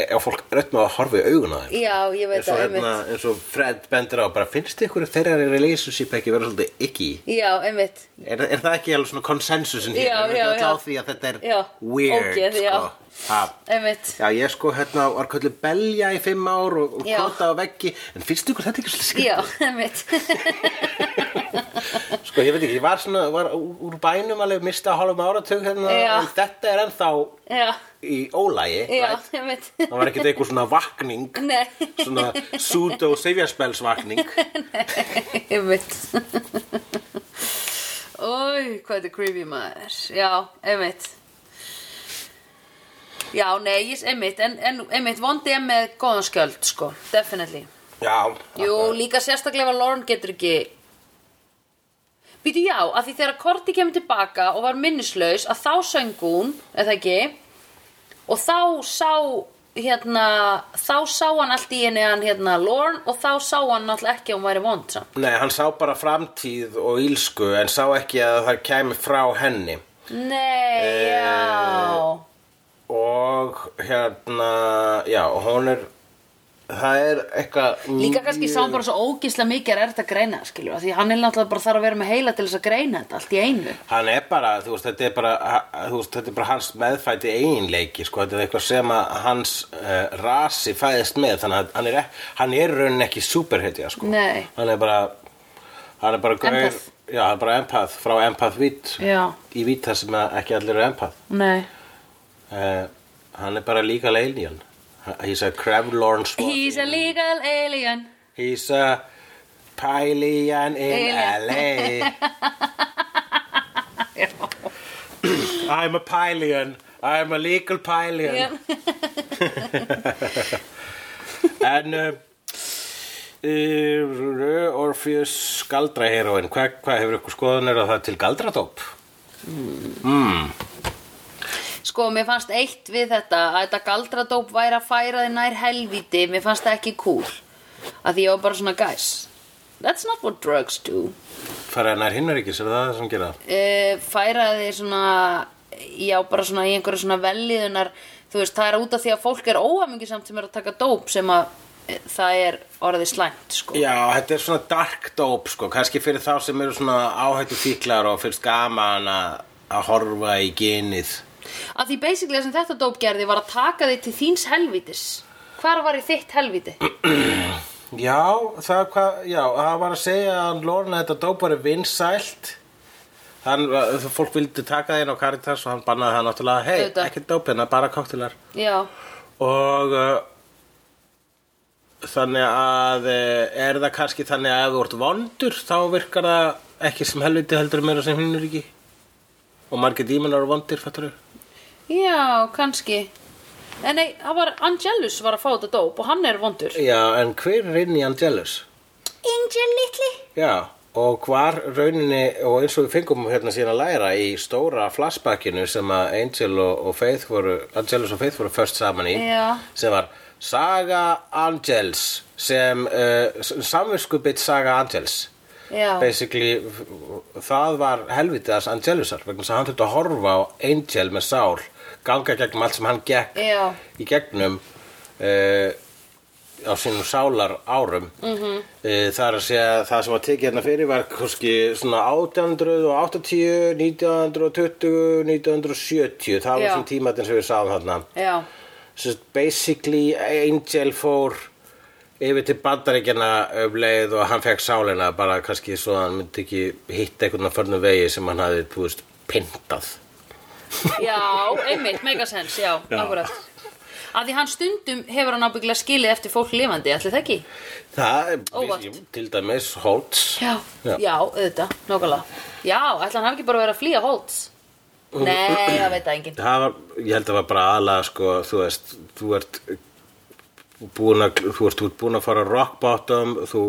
ef fólk rödd með að horfa í augun á þeim.
Já, ég veit
eins og,
það,
hérna,
einmitt.
eins og Fred bendir á bara finnst ykkur þeirra í relationship ekki vera svolítið ekki
Já, einmitt.
er, er það ekki alveg svona konsensusin hér
Já,
Erum við
já,
ekki
já.
öll á því að þetta er
Já,
weird
ógeð, já.
sko. ha.
Einmitt.
já ég sko hérna var kallið belja í fimm ár og, og
Já.
kota á veggi en finnst ykkur þetta ekki svolítið
Já, einmitt.
skrítið? sko ég veit ekki, ég var svona var úr bænum alveg mista hálfum áratug hérna,
Já.
en þetta er ennþá
já,
í ólægi
já,
right?
einmitt.
það var ekkert einhver svona vakning
Nei,
svona pseudo-sefjarspelsvakning
einmitt Ói, hvað þetta er creepy maður Já, einmitt Já, nei, ég- einmitt en, en einmitt, vondi er með góðan skjöld sko, definitely
já,
Jú, líka sérstaklega ef að Lauren getur ekki Býtu já, að því þegar Korti kemur tilbaka og var minnislaus að þá söng hún, eða ekki og þá sá hérna, þá sá hann allt í henni hann hérna Lauren og þá sá hann náttúrulega ekki að hún væri vond samt
Nei, hann sá bara framtíð og ílsku en sá ekki að það kæmi frá henni
Nei, já
og hérna, já, og hún er það er eitthvað
Líka kannski sá hann bara svo ógislega mikið er þetta að greina, skiljum Því hann er náttúrulega bara þarf að vera með heila til þess að greina þetta allt í einu
Hann er bara, þú veist, þetta er bara, ha- þú veist, þetta er bara hans meðfæti eiginleiki, sko, þetta er eitthvað sem að hans uh, rasi fæðist með, þannig að hann er, ek- hann er í rauninni ekki superhetja, sko.
Nei.
Hann er bara, hann er bara gaur,
Empath.
já, hann er bara empath, frá empath vít,
Já.
í vít þar sem að ekki allir eru empath.
Nei
Uh, hann er bara legal alien He's a Krevlorn swat
He's a legal alien
He's a Pylian in
Alien.
LA I'm a Pylian I'm a legal Pylian
Já.
En uh, uh, Orpheus galdraheróin Hvað hva hefur ykkur skoðanir að það til galdratóp?
Sko, mér fannst eitt við þetta að þetta galdradóp væri að færa þið nær helvíti Mér fannst það ekki cool Að því ég var bara svona, guys That's not what drugs do
Fara nær himnaríkis, er það það sem gera?
uh, færa þig svona já, bara svona í einhverju svona velliðunar þú veist, það er út af því að fólk er óhamingisamt sem er að taka dóp sem að eh, það er orðið slæmt sko.
Já, þetta er svona dark dope sko, kannski fyrir þá sem eru svona áhættu fíklar og finnst gaman að að horfa í genið.
að því basically það sem þetta dóp gerði var að taka þig til þíns helvítis hvar var í þitt helvíti?
Já, það hvað, já, það var að segja að Lorna þetta dope var vinsælt. Hann, var- fólk vildi taka þín á Caritas og hann bannaði það náttúrulega, hei,
Auðvitað.
ekki dope hérna, bara koktelar.
já,
Og uh, þannig að uh, er það kannski þannig að ef þú ert vondur þá virkar það ekki sem helviti heldur meira sem hinnur ekki. Og margir dímunar eru vondir, fattur þau?
já, kannski en nei, það var Angelus var að fá þetta dóp og hann er vondur
Já, en hver er inn í Angelus?
Angel litli
Já, og hvar rauninni, og eins og við fengum hérna síðan að læra í stóra flashbackinu sem að Angel og, og Faith voru, Angelus og Faith voru först saman í,
Já.
sem var Saga Angels, sem uh, samvinskubitt Saga Angels.
já,
Basically, það var helvitiðas Angelusar, vegna þess að hann þurfti að horfa á Angel með sál, ganga gegnum allt sem hann gekk
Já.
í gegnum uh, á sínum sálar árum. Mm
Mhm.
-hmm. það er að segja, það sem var tekið hérna fyrir var kannski svona 1880, 1920, 1970, það var
Já.
svona tímatin sem við sáum þarna.
já,
Sest, basically Angel fór yfir til bandaríkjana um leið og hann fekk sálina bara kannski svo að hann myndi ekki hitta einhvern að förnum vegi sem hann hafði þú veist, pintað
Já, einmitt, megasens, já,
Já.
já. akkurat Af því hann stundum hefur hann ábyggilega skilið eftir fólk lifandi, allir það ekki?
það er
Óvart.
vissi- til dæmis Holtz
Já,
Já.
já, auðvitað, nákvæmlega Já, ætla hann hafi ekki bara verið að flýja Holtz Nei, það veit það enginn
það var, ég held að það var bara aðlega sko, þú veist, þú ert búin að, þú ert út búin að fara rock bottom, þú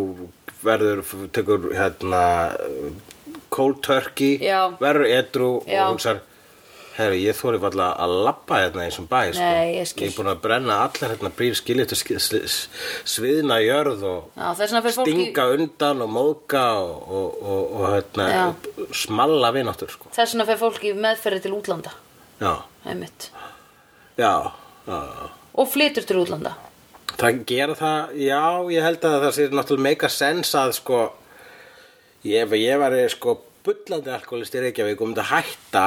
verður, tekur hérna cold turkey,
Já.
verður edru
Já.
og hugsar herru, ég þóri varla að labba hérna eins og bæ, sko.
Nei, ég skil.
er búin að brenna allar hérna brýr skiljut og sk- sli- s- sviðna jörð og
Já, þess vegna fyrir fólk í,
stinga undan og móðga og, og, og, og hérna,
Já.
smalla vináttur, sko.
þess vegna fyrir fólk í meðferði til útlanda
Já,
einmitt.
já, já, já.
Og flytur til útlanda
Það gera það, já, ég held að það sé náttúrulega meika sens að sko, ég, ef ég væri sko bullandi alkoholist í Reykjavík og myndi að hætta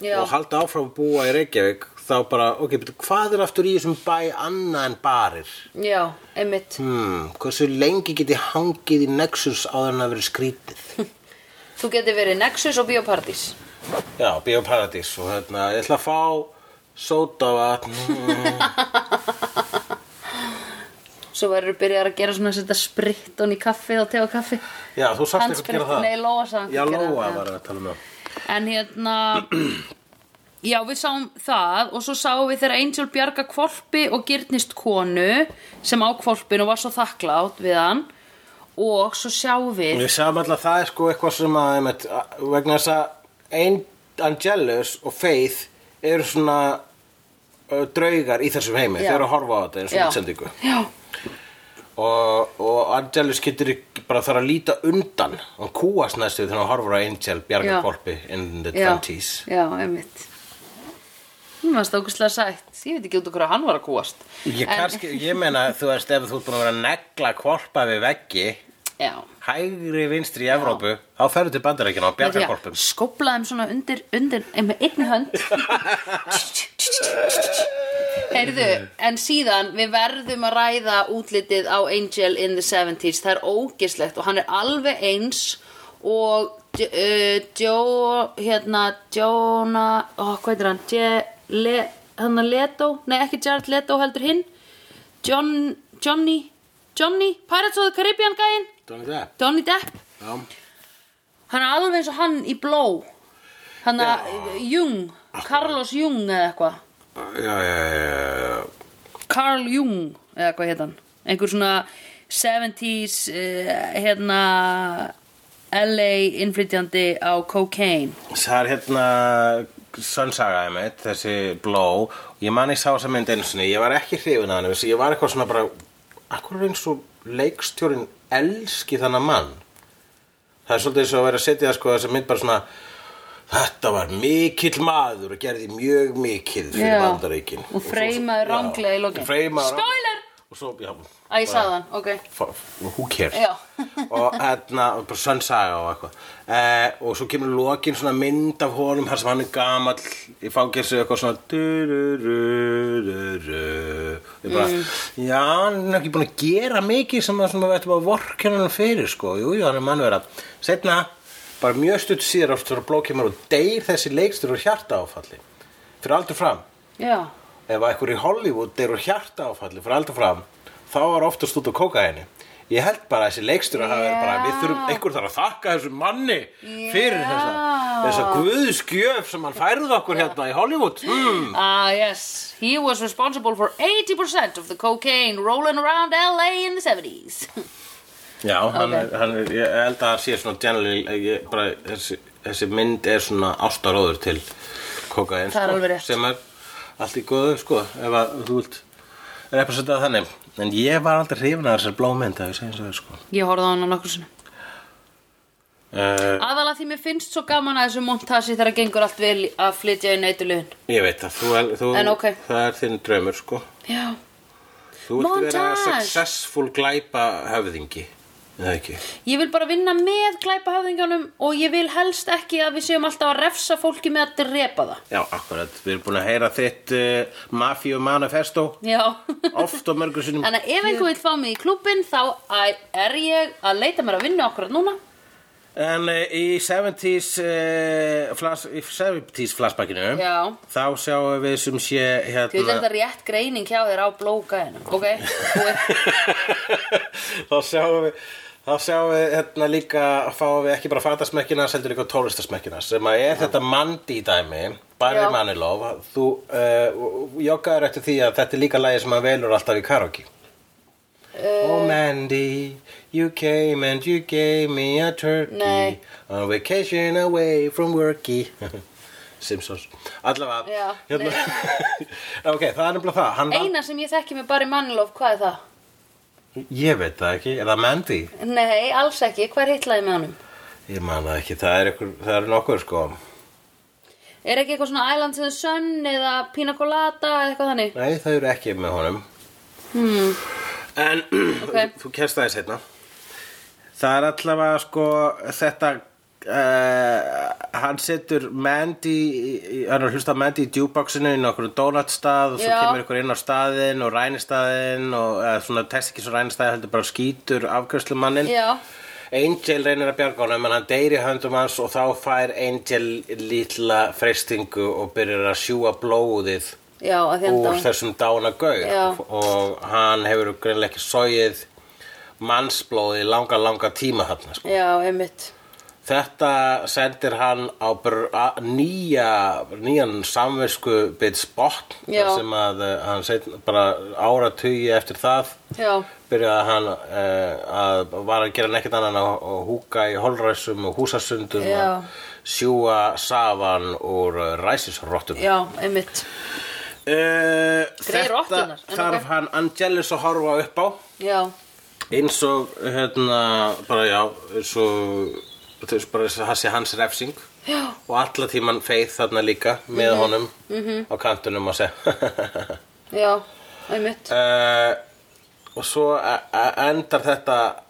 Já,
og halda áfram að búa í Reykjavík þá bara, ok, betur, hvað er aftur í þessum bæ annað en barir?
já, einmitt
Hmm, hversu lengi get ég hangið í Nexus áður en að vera skrítið?
Þú getur verið Nexus og Bíóparadís
Já, Bíóparadís og hérna, ég ætla að fá sótavatn,
Svo verður byrjar að gera svona að setja spritton í kaffi og tega kaffi
já, þú sagt eitthvað að
Handsprit,
gera það.
nei, Lóa sagði
Já,
að gera
Lóa
það.
var að tala um það.
En hérna Já, við sáum það og svo sáum við þegar Angel bjarga kvolpi og gyrnist konu sem á kvolpin og var svo þakklátt við hann og svo sjáum við
Við sjáum alltaf að það er sko eitthvað sem að einmitt, vegna þess að Ein- Angelus og Faith eru svona uh, draugar í þessum heimi,
Já.
þau eru að horfa á þetta eins og
Já.
útsendingu
Já,
og, og Angelus getur ekki bara þarf að líta undan og kúast næstu þegar hann horfur á Angel
Já.
bjargarkorpi in the
já,
20s
já, einmitt Hún var stókislega sætt Ég veit ekki út okkur að hann var að kúast
Ég,
En-
kannski, ég meina, þú veist, ef þú ert búin að vera að negla korpa við veggi
Já
hægri vinstri í Evrópu þá ferðu til bandarækina á bjargarkorpum
Skopla þeim svona undir, undir eh, með einni hönd Heyrðu, en síðan við verðum að ræða útlitið á Angel in the 70s það er ógislegt og hann er alveg eins og uh, Joe, hérna Jonah, ó, hvað er hann Je, Le, hann að Leto nei, ekki Jared Leto heldur hinn John, Johnny Johnny, Pirates of the Caribbean gæinn
Donnie Depp
Johnny Depp
Já.
Hann er alveg eins og hann í bló Hann að Jung Carlos Jung eða eitthvað
Já, já, já, já, já.
Carl Jung eða hvað hétt hann Einhver svona 70s uh, hérna LA innflytjandi á cocaine
Það er hérna Sönsaga mitt, þessi bló Ég man ég sá þessa mynd einu sinni Ég var ekki hrifin að hann þessi- Ég var eitthvað svona bara Akkur er eins og leikstjórin elski þannig mann Það er svolítið eins og að vera að setja sko, þessa mynd bara svona Þetta var mikill maður og gerði mjög mikill fyrir
Já.
bandaríkin
Og freimaði ranglega í lokin. Spoiler!
Og svo, já
Æ, ég sagði hann, ok
fa- who cares
Já.
og hérna, og bara sönsaga og eitthvað eh, og svo kemur lokin svona mynd af honum þar sem hann er gamall í fangelsu eitthvað svona du-ru-ru-ru-ru ég bara, já, hann er ekki búin að gera mikið sem að svona við ættum að vorkenna hann fyrir sko, jú, jú, hann er mannverða setna, bara mjög stutt síðar áttur að blóð kemur og deyr þessi leikstur og hjarta áfalli, fyrir aldur fram
Já,
ef einhver í Hollywood eru hjarta áfalli fyrir aldar fram, þá var oftast út á kókaini. Ég held bara að þessi leikstur að hafa verið bara,
Já.
við þurfum, einhver þarf að þakka þessum manni fyrir
Já.
þessa, þessa guðskjöf sem hann færði okkur hérna í Hollywood. Mm.
ah yes He was responsible for 80% of the cocaine rolling around LA in the 70s
Já, hann,
Ok.
er, hann er, ég held að hann sé svona generally, ég, bara, þessi, þessi mynd er svona ástaróður til kókain,
Það er alveg rétt.
sem er allt í góðu, sko, ef að þú vilt representað þannig. En ég var aldrei hrifin að þessar blómynd, að ég segja eins og það, sko.
Ég horfði á hann á nokkur sinni
Uh,
Aðalega því mér finnst svo gaman að þessu montasi þegar gengur allt vel að flytja í neitulöðin.
Ég veit það, þú, er- þú,
En ok.
það er þinn draumur sko
Já.
Þú ert að vera
Montage!
successful glæpa höfðingi Nei, ekki.
Ég vil bara vinna með glæpahöfðingjónum og ég vil helst ekki að við séum alltaf að refsa fólki með að drepa það.
Já, akkurat, við erum búin að heyra þitt uh, Mafíu manifesto
Já.
oft og mörgur sinnum
Þannig að ef einhver vil fá mig í klúbin þá æ- er ég að leita mér að vinna okkur núna.
En uh, í 70s, uh, flas, í 70s flashbackinu
Já.
þá sjáum við sem sé
Þú veit
hérna
þetta er rétt greining hjá þér á blókaðinu. Ok, þú er...
þá sjáum við þá sjáum við hérna líka fáum við ekki bara fatasmekkinas heldur líka tólistasmekkinas sem að er þetta Mandy dæmi Barry
Já.
Manilow þú uh, joggaður eftir því að þetta er líka lagi sem hann velur alltaf í karaoke
Eh.
Oh Mandy, you came and you gave me a turkey
Nei.
On vacation away from worky Simpsons Allavega
Já,
hérna. Ok, það er nefnilega það Hann var-
Eina sem ég þekki með Barry Manilow, hvað er það?
Ég veit það ekki, er það Mandy?
Nei, alls ekki. Hvað er hitlaði með honum?
Ég man það ekki, það er, ykkur, það er nokkur sko
Er ekki eitthvað svona Islands in the Sun eða Pina Colada eða eitthvað þannig?
Nei, það eru ekki með honum
Hmm.
En
Ok.
þú kemst það í setna Það er allavega sko þetta uh, Hann setur Mandy í- í- Hann er að hlusta á Mandy í djúboxinu í nokkur donutstað og svo
Já.
kemur ykkur inn á staðinn og rænistaðinn og eða, svona test ekki svo rænistaði heldur bara skýtur afgjörslumannin
Já.
Angel reynir að bjarga honum en hann deyr í höndum hans og þá fær Angel lítla freystingu og byrjar að sjúa blóðið
Já, að því
úr
enda.
þessum dána
Já.
gaur og hann hefur greinlega ekki sóið mannsblóði í langa, langa tíma þarna sko.
Já, einmitt.
Þetta sendir hann á br- a- nýja, nýjan samvisku bit spot
Já.
sem að eh, hann setna bara áratugi eftir það
Já.
byrjaði hann uh, að var að gera nekkert annan að að húka í holræsum og húsasundum
Já.
að sjúa safan úr eh, ræsisrottum
Já, einmitt.
Eh,
Grey
þetta
rottunar, en
þarf
ok.
hann Angelus að horfa upp á
Já.
eins og hérna bara já eins og þú veist bara þess að það sé hans refsing já. og alla tíman feið þarna líka með
Mhm.
honum -hmm. á kantunum að segja
Já, einmitt
uh, og svo e- e- endar þetta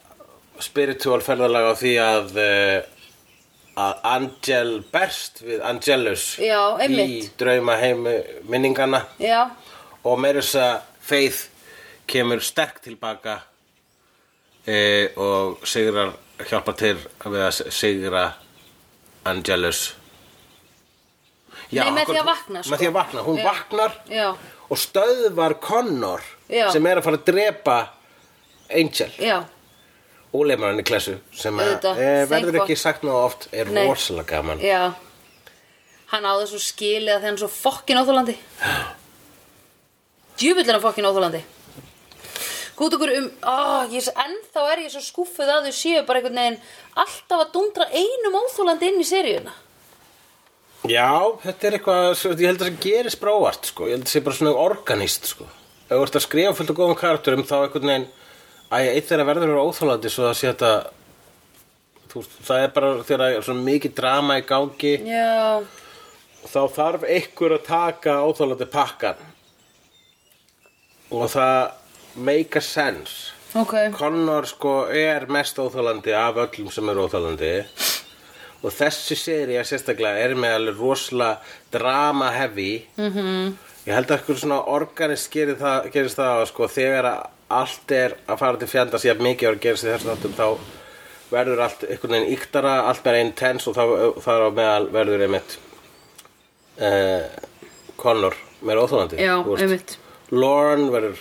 spiritual ferðalega á því að uh, að Angel berst við Angelus
Já,
í
einmitt.
drauma heimu minningana
Já,
og meira þess að Faith kemur sterk tilbaka e, og sigrar hjálpa til við að sigra Angelus
Nei, með því
akkurat-
að vakna, sko.
með því að vakna, hún
Já.
vaknar
já,
og stöðvar Connor
Já.
sem er að fara að drepa Angel
já
og lemur hann í klessu sem að,
Auðvitað,
eh,
thank
verður
God.
ekki sagt ná oft er
Nei.
rosalega gaman
Já Hann á þessu skilið að þegar hann er svo fokkin óþólandi Djúvill er hann fokkin óþólandi Gút okkur um ó, ég, er svo- Ennþá er ég svo skúffuð að þau séu bara einhvern veginn Alltaf að dundra einum óþólandi inn í seríuna
já, þetta er eitthvað svo, ég held að það gerist bróvart sko. ég held að það sé bara svona organist sko. ef þú ert að skrifa fullt og góðum karakterum þá einhvern veginn að eitt þeirra verður að vera óþólandi svo það sé þetta þú, veist, það er bara þegar það er svona mikið drama í gangi
Já,
þá þarf einhver að taka óþálandi pakkan og það make a sense
ok
Connor sko er mest óþálandi af öllum sem eru óþálandi og þessi serið sérstaklega er með alveg rosalega drama heavy
Mhm.
-hmm. ég held að eitthvað svona organist gerir það, gerist það að sko þegar að allt er að fara til fjandast ég mikið að gerist í þessum þáttum þá verður allt einhvern veginn yktara allt meira intense og þá, þar á meðal verður einmitt uh, Connor meira óþálandi
Já,
þú veist.
einmitt.
Lorne verður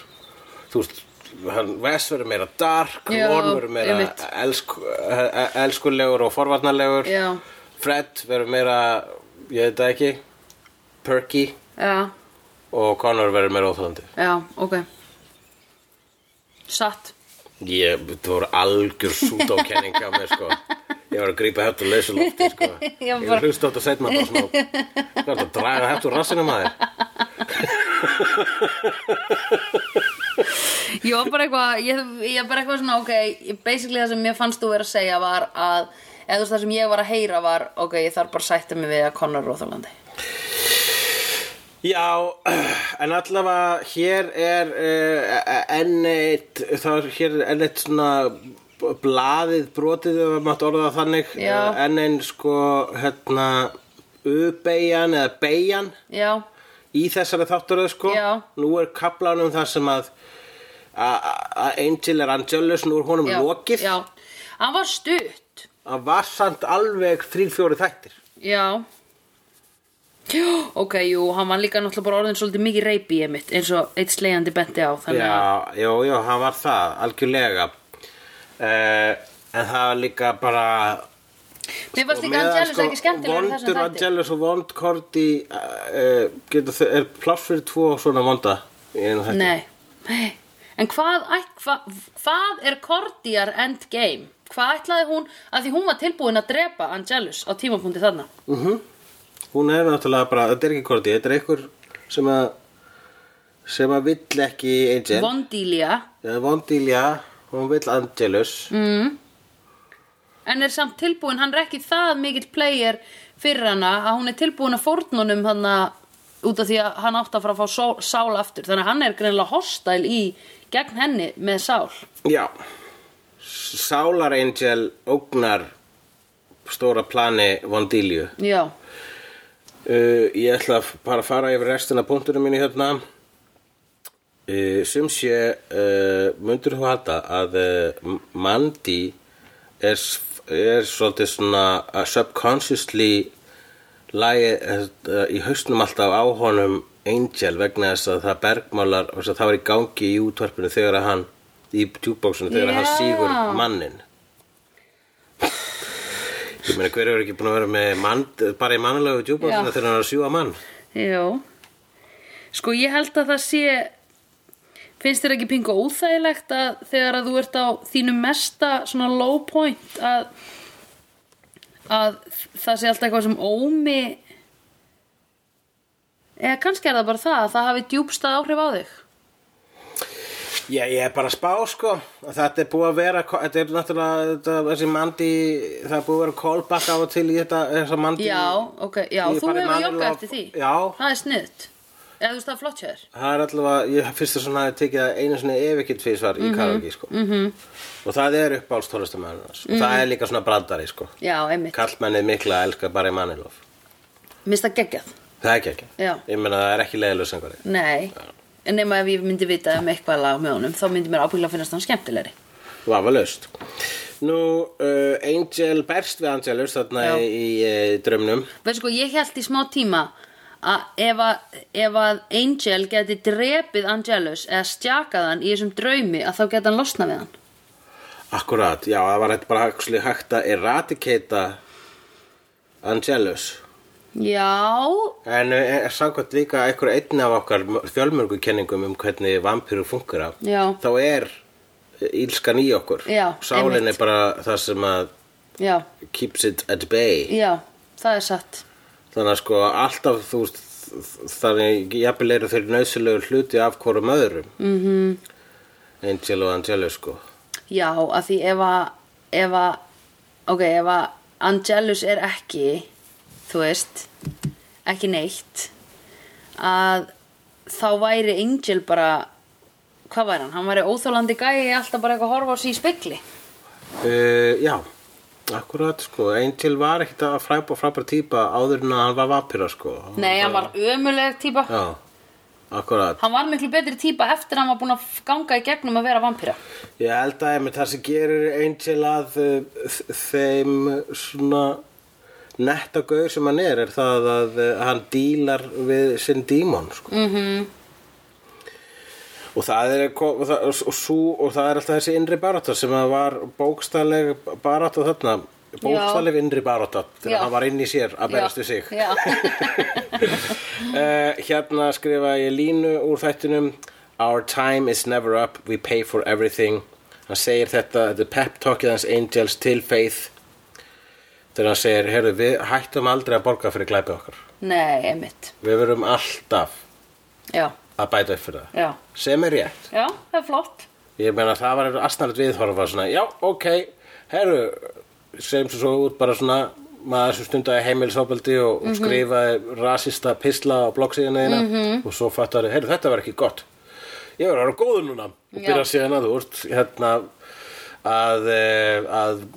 þú veist, hann Wes verður meira dark
Já,
Lorne verður meira
einmitt.
elsku, eh, elskulegur og forvarnarlegur
Já.
Fred verður meira ég veit það ekki perky
Já,
og Connor verður meira óþólandi
já, ok Satt
ég, það voru algjör sútókenning á mér sko ég var að grípa hættu og lausu lofti sko
Já,
ég
bara-
hlusti á þetta setna bara smá hvað er þetta að draga hættu rassinu maður
Ég var bara eitthvað, ég, ég var bara eitthvað svona, ok, basically það sem mér fannst þú vera að segja var að, eða þú veist það sem ég var að heyra var, ok, ég þarf bara að sætta mig við að Conor Róðalandi.
Já, en eh, allavega hér er uh, enn eitt þá er hér er enn eitt svona b- blaðið brotið ef maður mátt orða það þannig
Já.
Eh, enn einn sko hérna ubeigjan eða beigjan
já,
í þessari þáttaröð sko
Já.
nú er kaplanum þar sem að a- a- að Angel er Angelus nú er honum
já,
lokið
já. hann var stutt
að var samt alveg 3-4 þættir
já Jú, ok, jú, hann var líka náttúrulega bara orðin svolítið mikið reypi ég mitt eins og eitt slegjandi benti á þannig að
já, já, já, hann var það algjörlega uh, en það var líka bara
mér varst
og
líka
meðan,
Angelus ekki skemmtilegur í þessum
Sko, vondur
þætti
Angelus og vond Korti uh, uh, er pláss fyrir tvo svona vonda í einu þætti.
Nei, nei En hvað, æt- hva, hvað er Cordiar Endgame? Hvað ætlaði hún, að því hún var tilbúin að drepa Angelus á tímapunkti þarna
hún er náttúrulega bara, þetta er ekki Korti þetta er einhver sem að sem að vill ekki Angel
Vondília
eða Vondilja, hún vill Angelus
Mm. En er samt tilbúin, hann er ekki það mikill player fyrir hana að hún er tilbúin að fórnunum hann út af því að hann átti að fara að fá sól, sál aftur þannig að hann er greinilega hostæl í gegn henni með sál
já Sálar Angel ógnar stóra plani Vondilju
Já,
uh, ég ætla að bara að fara yfir restina af punktunum mínu hérna uh, sem sé uh, mundur þú halda að uh, Mandy er, s- er svolítið svona uh, subconsciously lagi uh, í hausnum alltaf á honum Angel vegna þess að það bergmálar þess að það var í gangi í útvarpinu þegar að hann í djúbóksinu þegar að hann
Já.
sígur mannin ég meina hver hefur ekki búin að vera með mann, bara í mannlegu djúbóksinu
Já.
þegar hann er að sjúga mann
já Sko ég held að það sé finnst þér ekki pingu óþægilegt að þegar að þú ert á þínu mesta svona low point að, að það sé alltaf eitthvað sem ómi eða kannski er það bara það að það hafi djúbstað áhrif á þig
Já, ég er bara að spá, sko. Þetta er búið að vera, þetta er náttúrulega, þetta, þessi mandi, það er búið að vera callback á og til í þetta, þessa mandi.
Já, ok, já,
Ég er
þú
bara í
hefur joggað
mannlega-
eftir því
Já.
Það er sniðt Eða þú veist það er flott hjá þér
Það er allavega, ég fyrst að svona hafði tekið það einu svona ef ekki tvísvar
Mhm,
í karaoke, sko. -hmm. Og það er uppáhalds tónlistamæðunars. Mm -hmm.
Mhm.
Það er líka svona brandari, sko.
Já, einmitt,
Kallmennið mikla elskar bara í mannilof.
minnst það geggjað
Það er ekki ekki.
Já.
Ég meina það er ekki leiðilega sengari.
Nei, en nema ef ég myndi vita um eitthvað lag með honum, þá myndi mér ábyggilega finnast hann skemmtilegri.
Vafa löst. Nú, uh, Angel berst við Angelus þarna
Já.
í, í uh, drömnum.
Veist sko, ég held í smá tíma að ef, að ef að Angel geti drepið Angelus eða stjakað hann í þessum draumi að þá geti hann losnað við hann.
Akkurát, já, það var þetta bara actually hægt að eradicata Angelus.
Já,
En eh, er samkvæmt líka einhver einn af okkar fjölmörgu kenningum um hvernig vampíru funkar af.
Já.
Þá er ílskan í okkur.
Já,
Sálin
einmitt.
er bara það sem að
já,
keeps it at bay.
já, það er satt.
Þannig að sko alltaf þú veist, þannig jafnvel eru þeir nöðsilegu hluti af hvorum öðrum. Mm
Mhm.
-hmm. Angel og Angelus sko.
Já, að því ef að, ef að, ok, ef að Angelus er ekki, þú veist, ekki neitt, að þá væri Angel bara, hvað væri hann? Hann væri óþólandi gæi, alltaf bara eitthvað að horfa á sig í spegli.
Uh, já, akkurat sko Angel var ekkit að fræpa frábæra típa áður en að hann var vapira sko
Nei, hann var ömuleg típa.
Já, akkurat
Hann var miklu betri típa eftir að hann var búin að ganga í gegnum að vera vampýra.
Ég held að einmitt það sem gerir Angel að uh, þ- þeim svona netta gauð sem hann er er það að uh, hann dílar við sinn dímon sko -hmm.
Mhm.
Og það er kom- og það, og, sú, og það er alltaf þessi innri barátta sem að var bókstæðleg barátta þarna bókstæðleg innri barátta
Já.
þegar hann var inn í sér að berast við sig
Já,
uh, hérna skrifa ég línu úr þættinum Our time is never up, we pay for everything hann segir þetta, þetta er pep talkið hans Angels til Faith þegar hann segir, heyrðu, við hættum aldrei að borga fyrir glæpi okkar
nei, einmitt.
við verum alltaf
Já,
að bæta upp fyrir það
já,
sem er rétt
já, það er flott.
Ég meina það var eitthvað astnært viðhorfa svona, já, ok, herru, segjum svo svo út bara svona, maður sem stundaði heimilisofbeldi og,
Mhm.
og skrifaði rasista pisla á bloggsíðina þína
Mhm.
og svo fattaði, herru, þetta var ekki gott. Ég var að vera góður núna og
Já.
byrja síðan að þú ert hérna að, eh, að,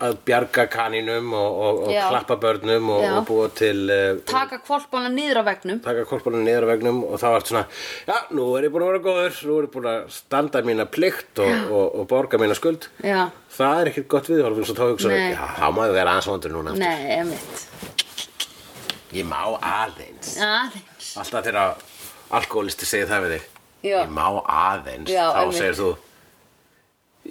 að bjarga kaninum og, og, og
Já.
klappa börnum og,
Já.
og búa til eh,
Taka kvolpana niður á vegnum
taka korpunum niður á vegnum og þá ertu svona, já, nú er ég búin að vera góður nú er ég búin að standa mína plikt og, og, og borga mína skuld
Já,
það er ekkert gott viðhorf eins og þá hugsa
Nei.
já, þá má ég vera aðeins vondur núna
nei, emitt
ég má aðeins
Aðeins
alltaf þegar alkoholisti segir það við þig
Já.
ég má aðeins
Já,
þá
einmitt.
segir þú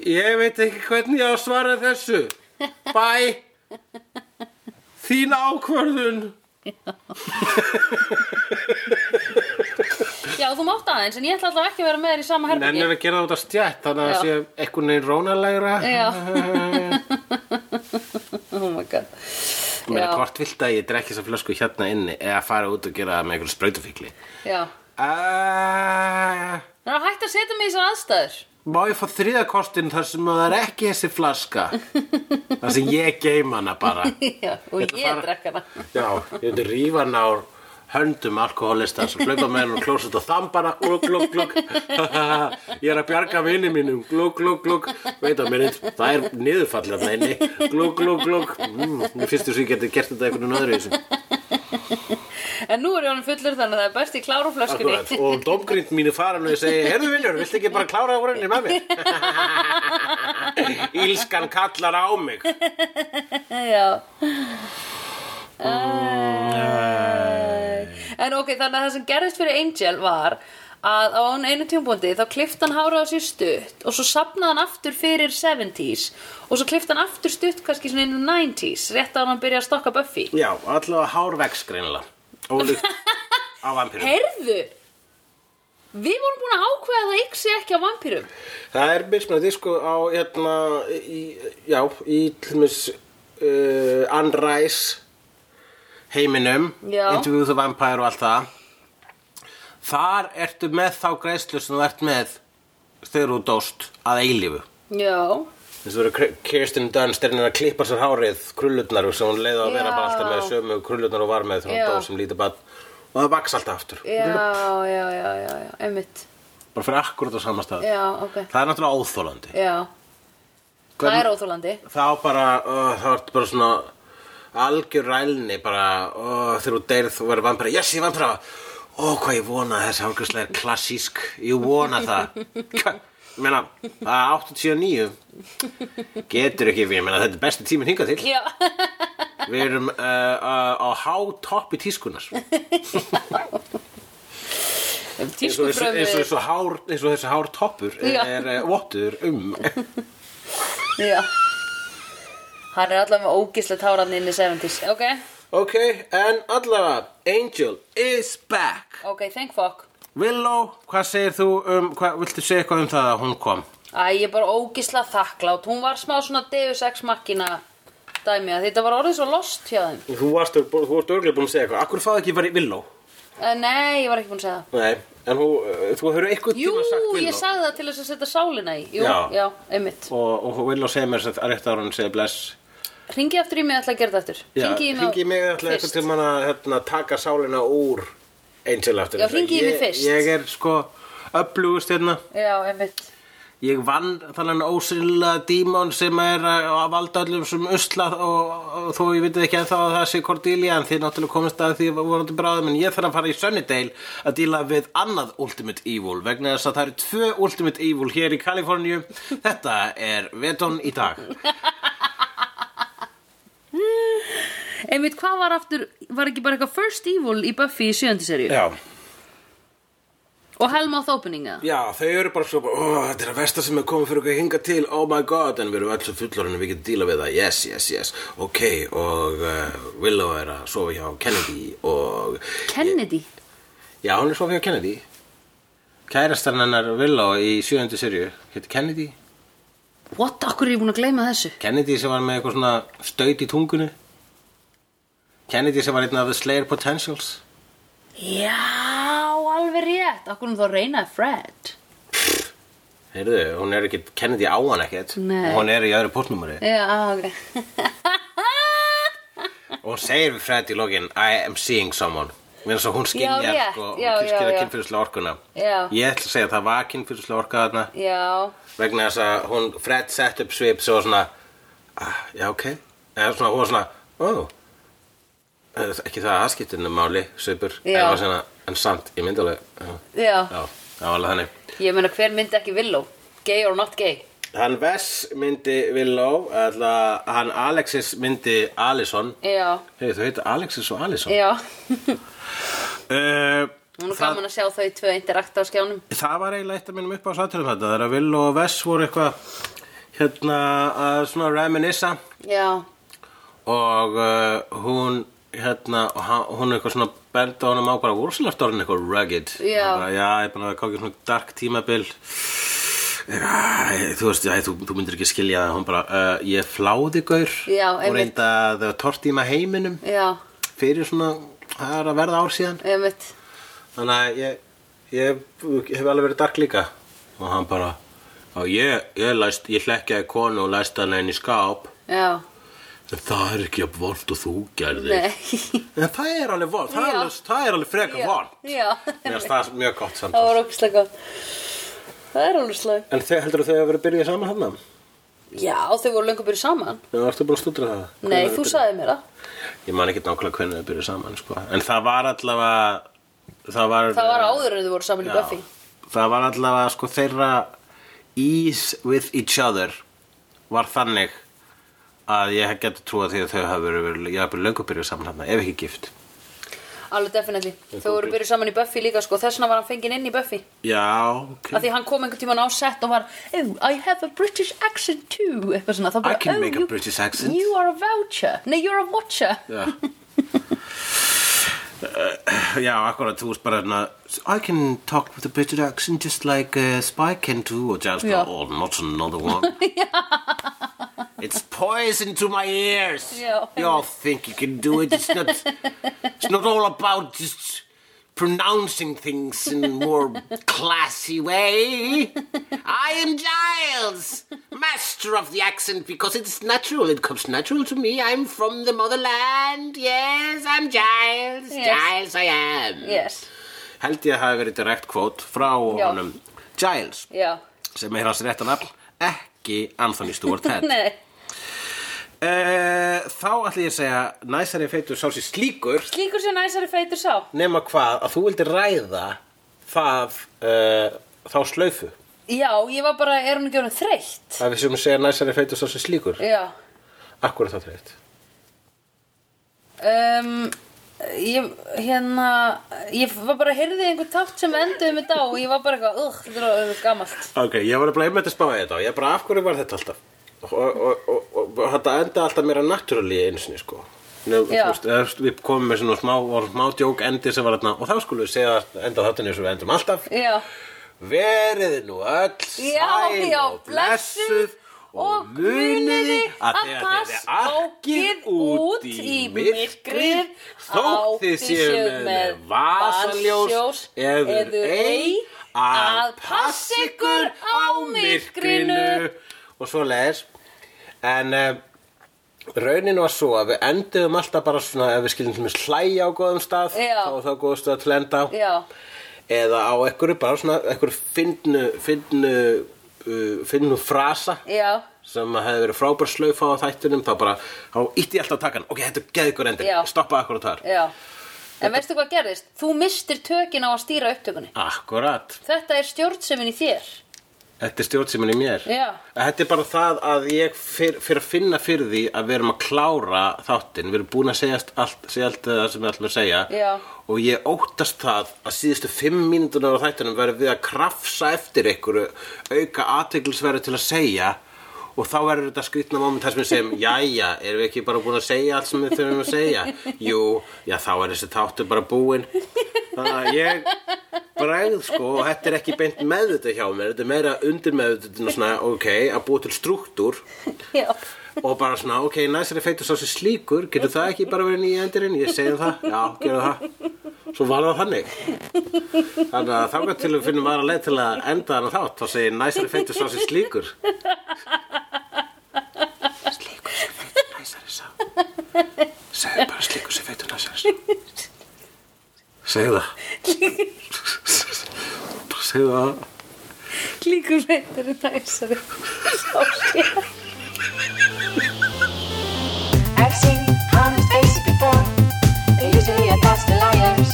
ég veit ekki hvernig ég á að svara þessu bæ þín ákvörðun
Já, þú mátt aðeins, en ég ætla alltaf ekki að vera með þér í sama herbergi
nennir að gera þetta stjætt þannig að
Já.
það sé einhvern veginn rónalegra
Já Oh my god
Mér er
Já.
hvort vilt að ég drekki þessa flösku hérna inni eða fara út og gera það með einhverjum sprautufíkli.
Já
Uh,
Það er hægt að setja mig í þessar aðstæður
má ég fá þriða kostin þar sem að það er ekki þessi flaska? þar sem ég geim hana bara.
Já, og
ætla að
ég
fara-
drekk hana
Já, ég myndi rífa hana á höndum alkoholista sem hlaupa með hennar klóset og þann bara glug, glug, glug ég er að bjarga vini mínum glug, glug, glug, veit að minni það er niðurfallið þarna inni glug, glug, glug, mm, mér finnst þess að ég geti gert þetta einhvern veginn öðru í þessum
En nú er ég honum fullur þannig að það er best í klára flöskunni
Akkurat, og domgrind mínu fara nú og ég segi, heyrðu viljur, viltu ekki bara klára úrunni með mér? Ílskan kallar á mig.
Já Æ. En ok, þannig að það sem gerðist fyrir Angel var að á hann einu tjónbúndi þá klift hann hárið á sér stutt og svo sapnaði hann aftur fyrir 70s og svo klift hann aftur stutt kannski svona inn í 90s rétt að hann byrja að stokka Buffy
Já, allavega hárvegs greinilega. Ólíkt á vampirum.
Heyrðu! Við vorum búin að ákveða að það yksi ekki á vampýrum
Það er mismunandi, sko, á, hérna, í, já, í tlumis uh, Unrise heiminum,
Já.
Interview with the Vampire og allt það. Þar ertu með þá greiðslu sem þú ert með þegar þú dóst að eilífu.
Já
Þess að vera Kirsten Dunst er henni að klippa sér hárið krullutnar sem hún leiði að vera
Já.
bara alltaf með sömu krullutnar og var með þegar hún
Já.
dó sem lítið bann og það vaks alltaf aftur
Já, já, já, já, já, einmitt
bara fyrir akkurat á sama stað
Já, ok
það er náttúrulega óþólandi
Já, það er óþólandi
þá bara, uh, þá ertu bara svona algjör rælni bara uh, þegar þú deyrð og verður vampira yes, ég er vampira ó, hvað ég vona að þessi hálfgjörslega er klassísk ég vona það Hva- ég meina, það er 89 getur ekki, ég meina þetta er besti tíminn hingað til
Já
Við erum uh, uh, á hátoppi tískunar eins og, eins, og- eins, og- eins,
Tískubröfið
og hár, eins og þessi hártoppur
Já.
er uh, vottur um
Já Hann er allavega með ógislegt hárann inn í 70s Ok, Eh,
Ok, en allavega Angel is back
ok, thank fuck
Willow, hvað segir þú um hvað, viltu segja eitthvað um það að hún kom?
Æ, ég er bara ógislega þakklátt Hún var smá svona Deus Ex Machina dæmi að Þetta var orðið svo lost hjá þeim
Þú varst, þú varst örglega búin að segja eitthvað Akkur fáði ekki verið Willow?
Eh, Nei, ég var ekki búin að segja það
Nei, en þú, uh, þú hefur eitthvað
Jú,
tíma sagt Willow
ég sagði það til þess að setja sálina í Jú,
Já.
já, einmitt
og, og Willow segir mér að rétt ára hún segir bless
Ringi aftur í mig, ég ætla að gera þetta aftur
Já,
Hringi mig á-
hringi í mig alltaf eitthvað
fyrst.
til manna hérna, taka sálina úr Angel aftur
Já, hringi í mig
Ég-
fyrst.
Ég er sko upplugust hérna
Já, einmitt
Ég vann þannig ósynlega dímon sem er að að valda öllum sem usla og, og þó ég veit ekki að það að það sé Cordelia en þið náttúrulega komist að því vonandi bráðum en ég þarf að fara í Sunnydale að díla við annað Ultimate Evil vegna þess að það eru tvö Ultimate Evil hér í Kaliforníu Þetta er Veton í dag
Einmitt, hvað var aftur, var ekki bara eitthvað First Evil í Buffy í sjöndi serju?
Já,
Og Hellmouth Opening, eða?
Já, þau eru bara svo bara, oh, þetta er að versta sem er komið fyrir okkur hinga til, oh my god, en við erum öll svo fullorinn og við getum díla við það, yes, yes, yes, ok, og uh, Willow er að sofa hjá Kennedy og,
Kennedy?
já, hún er sofa hjá Kennedy, kærastan hennar Willow í sjöundu serju, hétt Kennedy,
What? Akkur er ég búin að gleyma þessu?
Kennedy sem var með eitthvað svona staut í tungunni, Kennedy sem var einn af The Slayer Potentials,
Já, alveg rétt. Akkur hún þá reynaði Fred.
heyrðu, hún er ekki, Kennedy á hann ekkert,
Nei.
hún er í öðru postnúmeri,
Já, ok.
og hún segir við Fred í lokin, I am seeing someone. eins og hún
Já,
skinjar
rétt.
sko,
Já, já,
skilja
já.
kynfyrirslega orkuna
Já.
ég ætla að segja að það var kynfyrirslega orka þarna
Já,
vegna þess að hún Fred sett upp svip sem var svona ah, já ok eða svona hún var svona ó eh, ekki það aðskiptinu máli svipur en,
Já.
var svona, en samt í myndalega já,
já,
já, það var alveg þannig
ég meina hver myndi ekki villó Gay or not gay
Hann Vess myndi Villó, ætla, hann Alexis myndi Alison.
Já,
Hey, þau heita Alexis og Alison.
já
Uh,
Nú er
það,
gaman að sjá þau tvö interakta á skjánum
það var eiginlega eitt af minnum upp á satturum þetta. Þegar Villó og Vess voru eitthvað hérna að svona reminissa
Já,
og uh, hún hérna, og hann- hún er eitthvað svona benda honum á bara úrsilegt orðin eitthvað rugged
Já.
Hann bara, já, ég er búin að koma ekki svona dark tímabil Æ, þú veist, æ, þú, þú myndir ekki skilja það hún bara, uh, ég fláði gaur
Já,
og
einmitt.
reynda að þau tortíma heiminum
já,
fyrir svona, það er að verða ár síðan
einmitt
þannig að ég, ég, hef alveg verið dark líka og hann bara og ég, ég, læst, ég hlekkjaði konu og læst hann henni í skáp
Já,
en það er ekki að vond og þú gerði
nei
En það er alveg vond, það, er
Já.
alveg- það er alveg frekar
Já,
vond.
já.
Mér finnst það mjög gott samt.
Það var ógustlega gott Það er ógustlega
En þau heldur þau að vera að byrja saman hann?
Já, þau voru löngu byrjuð saman
Já, ertu búin að stúdra það?
Nei,
Hvenær þau
þú
byrja-
sagði mér það
Ég man ekki nákvæmlega hvernig þau byrja saman, sko. En það var allavega... Það var...
Það var áður en þau voru saman í
Já.
Buffy
Það var allavega, sko, þeirra ease with each other var þannig að ég geti trúa því að þau hafi verið, ég hafi löngu byrjað saman hann, ef ekki gift.
Alveg definitely
Ég
Þau voru
tók-
byrjuð saman í Buffy líka sko Þess vegna var hann fenginn inn í Buffy
Já, ok.
Af því hann kom einhvern tíman á set og var oh, I have a British accent too Eitthvað svona Þá bara,
I can
"Oh,
make a
you-
British accent."
You are a voucher Nei, you're a watcher
Já Uh, Já, akkurat, þú veist bara hérna I can talk with a British accent just like uh, Spy can do og Jazz
Já.
bara, oh, not another one It's poison to my ears
Já.
You all think you can do it It's not, it's not all about just pronouncing things in a more classy way I am Giles master of the accent because it's natural it comes natural to me I'm from the motherland Yes, I'm Giles
Yes.
Giles I am
Yes,
held ég að hafi verið direkt kvót frá
Já.
honum Giles
já
sem er hans rétta nafn ekki Anthony Stewart Head
Nei,
uh, þá ætla ég að segja næsari feitur sá sér slíkur
slíkur sér næsari feitur sá
nema hvað að þú vildi ræða það uh, þá slaufu
Já, ég var bara, er hún ekki orðin þreytt?
að við sem segja næsari feitur sá sér slíkur
Já
akkur er það þreitt
um, Ég, hérna Ég var bara, heyrði einhver takt sem enduði með dá Og ég var bara eitthvað, ugh, þetta er orðið gamalt
ok, ég var bara einmitt að spáða þetta og ég bara af hverju var þetta alltaf og, og, og, og, og þetta enda alltaf meira naturally einu sinni sko Nú, þú
Já.
veist, ef við komum með svona smá, og smá djók endi sem var þarna og þá skulum við segja að enda þáttunni sem við endum alltaf
Já,
Verið nú öll
Já,
sæl
já,
og blessuð og muniði að þegar þið
pass
er
arkið
arkið út í
út í
myrkrið
myrkrið,
þótt þið
þið
séu
séuð
með
með
vasaljós
vasaljós
eður
eður
ei
ei,
að
að
pass
passa
ykkur á myrkrinu
myrkrinu.
og svo leðis en uh, raunin var svo að við enduðum alltaf bara svona ef við skiljum sem hlæja á góðum stað
Já.
þá var það góðum stað til að enda á
já,
eða á einhverju bara svona einhverju finnu finnu, uh, finnu frasa
já
sem hefði verið frábær slaufa á þættunum þá bara, þá ítti ég alltaf að taka hann ok, þetta er geðgur endir,
Já.
stoppa akkurat þar
Já, en veistu hvað gerðist? Þú mistir tökin á að stýra upptökunni
akkurat,
Þetta er stjórnsemin í þér
þetta er stjórnsýmin í mér
Já.
þetta er bara það að ég fyr, fyrir að finna fyrir því að við erum að klára þáttinn, við erum búin að segja allt, segja allt það sem við ætlum að segja
Já.
og ég óttast það að síðustu fimm mínútur á þættunum verðum við að krafsa eftir einhverju auka aðteglisverðu til að segja Og þá verður þetta skrýtna moment þar sem við segjum, jæja, erum við ekki bara búin að segja allt sem við þurfum að segja? Jú, já, þá er þessi þáttur bara búinn. Þannig að ég bregð, sko, og þetta er ekki beint með þetta hjá mér, þetta er meira undir með þetta svona, ok, að búa til struktúr
Já,
og bara svona, ok, næsari feitur sá sér slíkur, getur það ekki bara verið nýja endurinn? Ég segi það, já, gerum það. Svo var það þannig. Þannig að þá gætt til við finnum aðra leið til að enda þarna þátt, þá segir næsari feitur sá sér slíkur. Slíkur sem feitur næsari sá. Segðu bara slíkur sem feitur næsari sá. Segðu það Bara Segðu það
Líkur veitur í næsari
I've seen honest faces before. They're usually a pass to liars.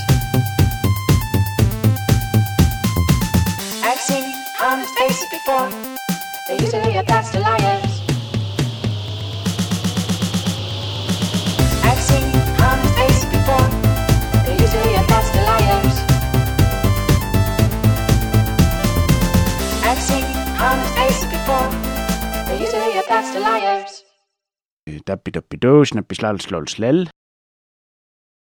I've seen honest faces before. They're usually a pass to liars. I've seen honest faces before. They're usually a pass to liars. I've seen honest faces before. They're usually a pass to liars.
Dabbi dabbi dó, snabbi slal slól slell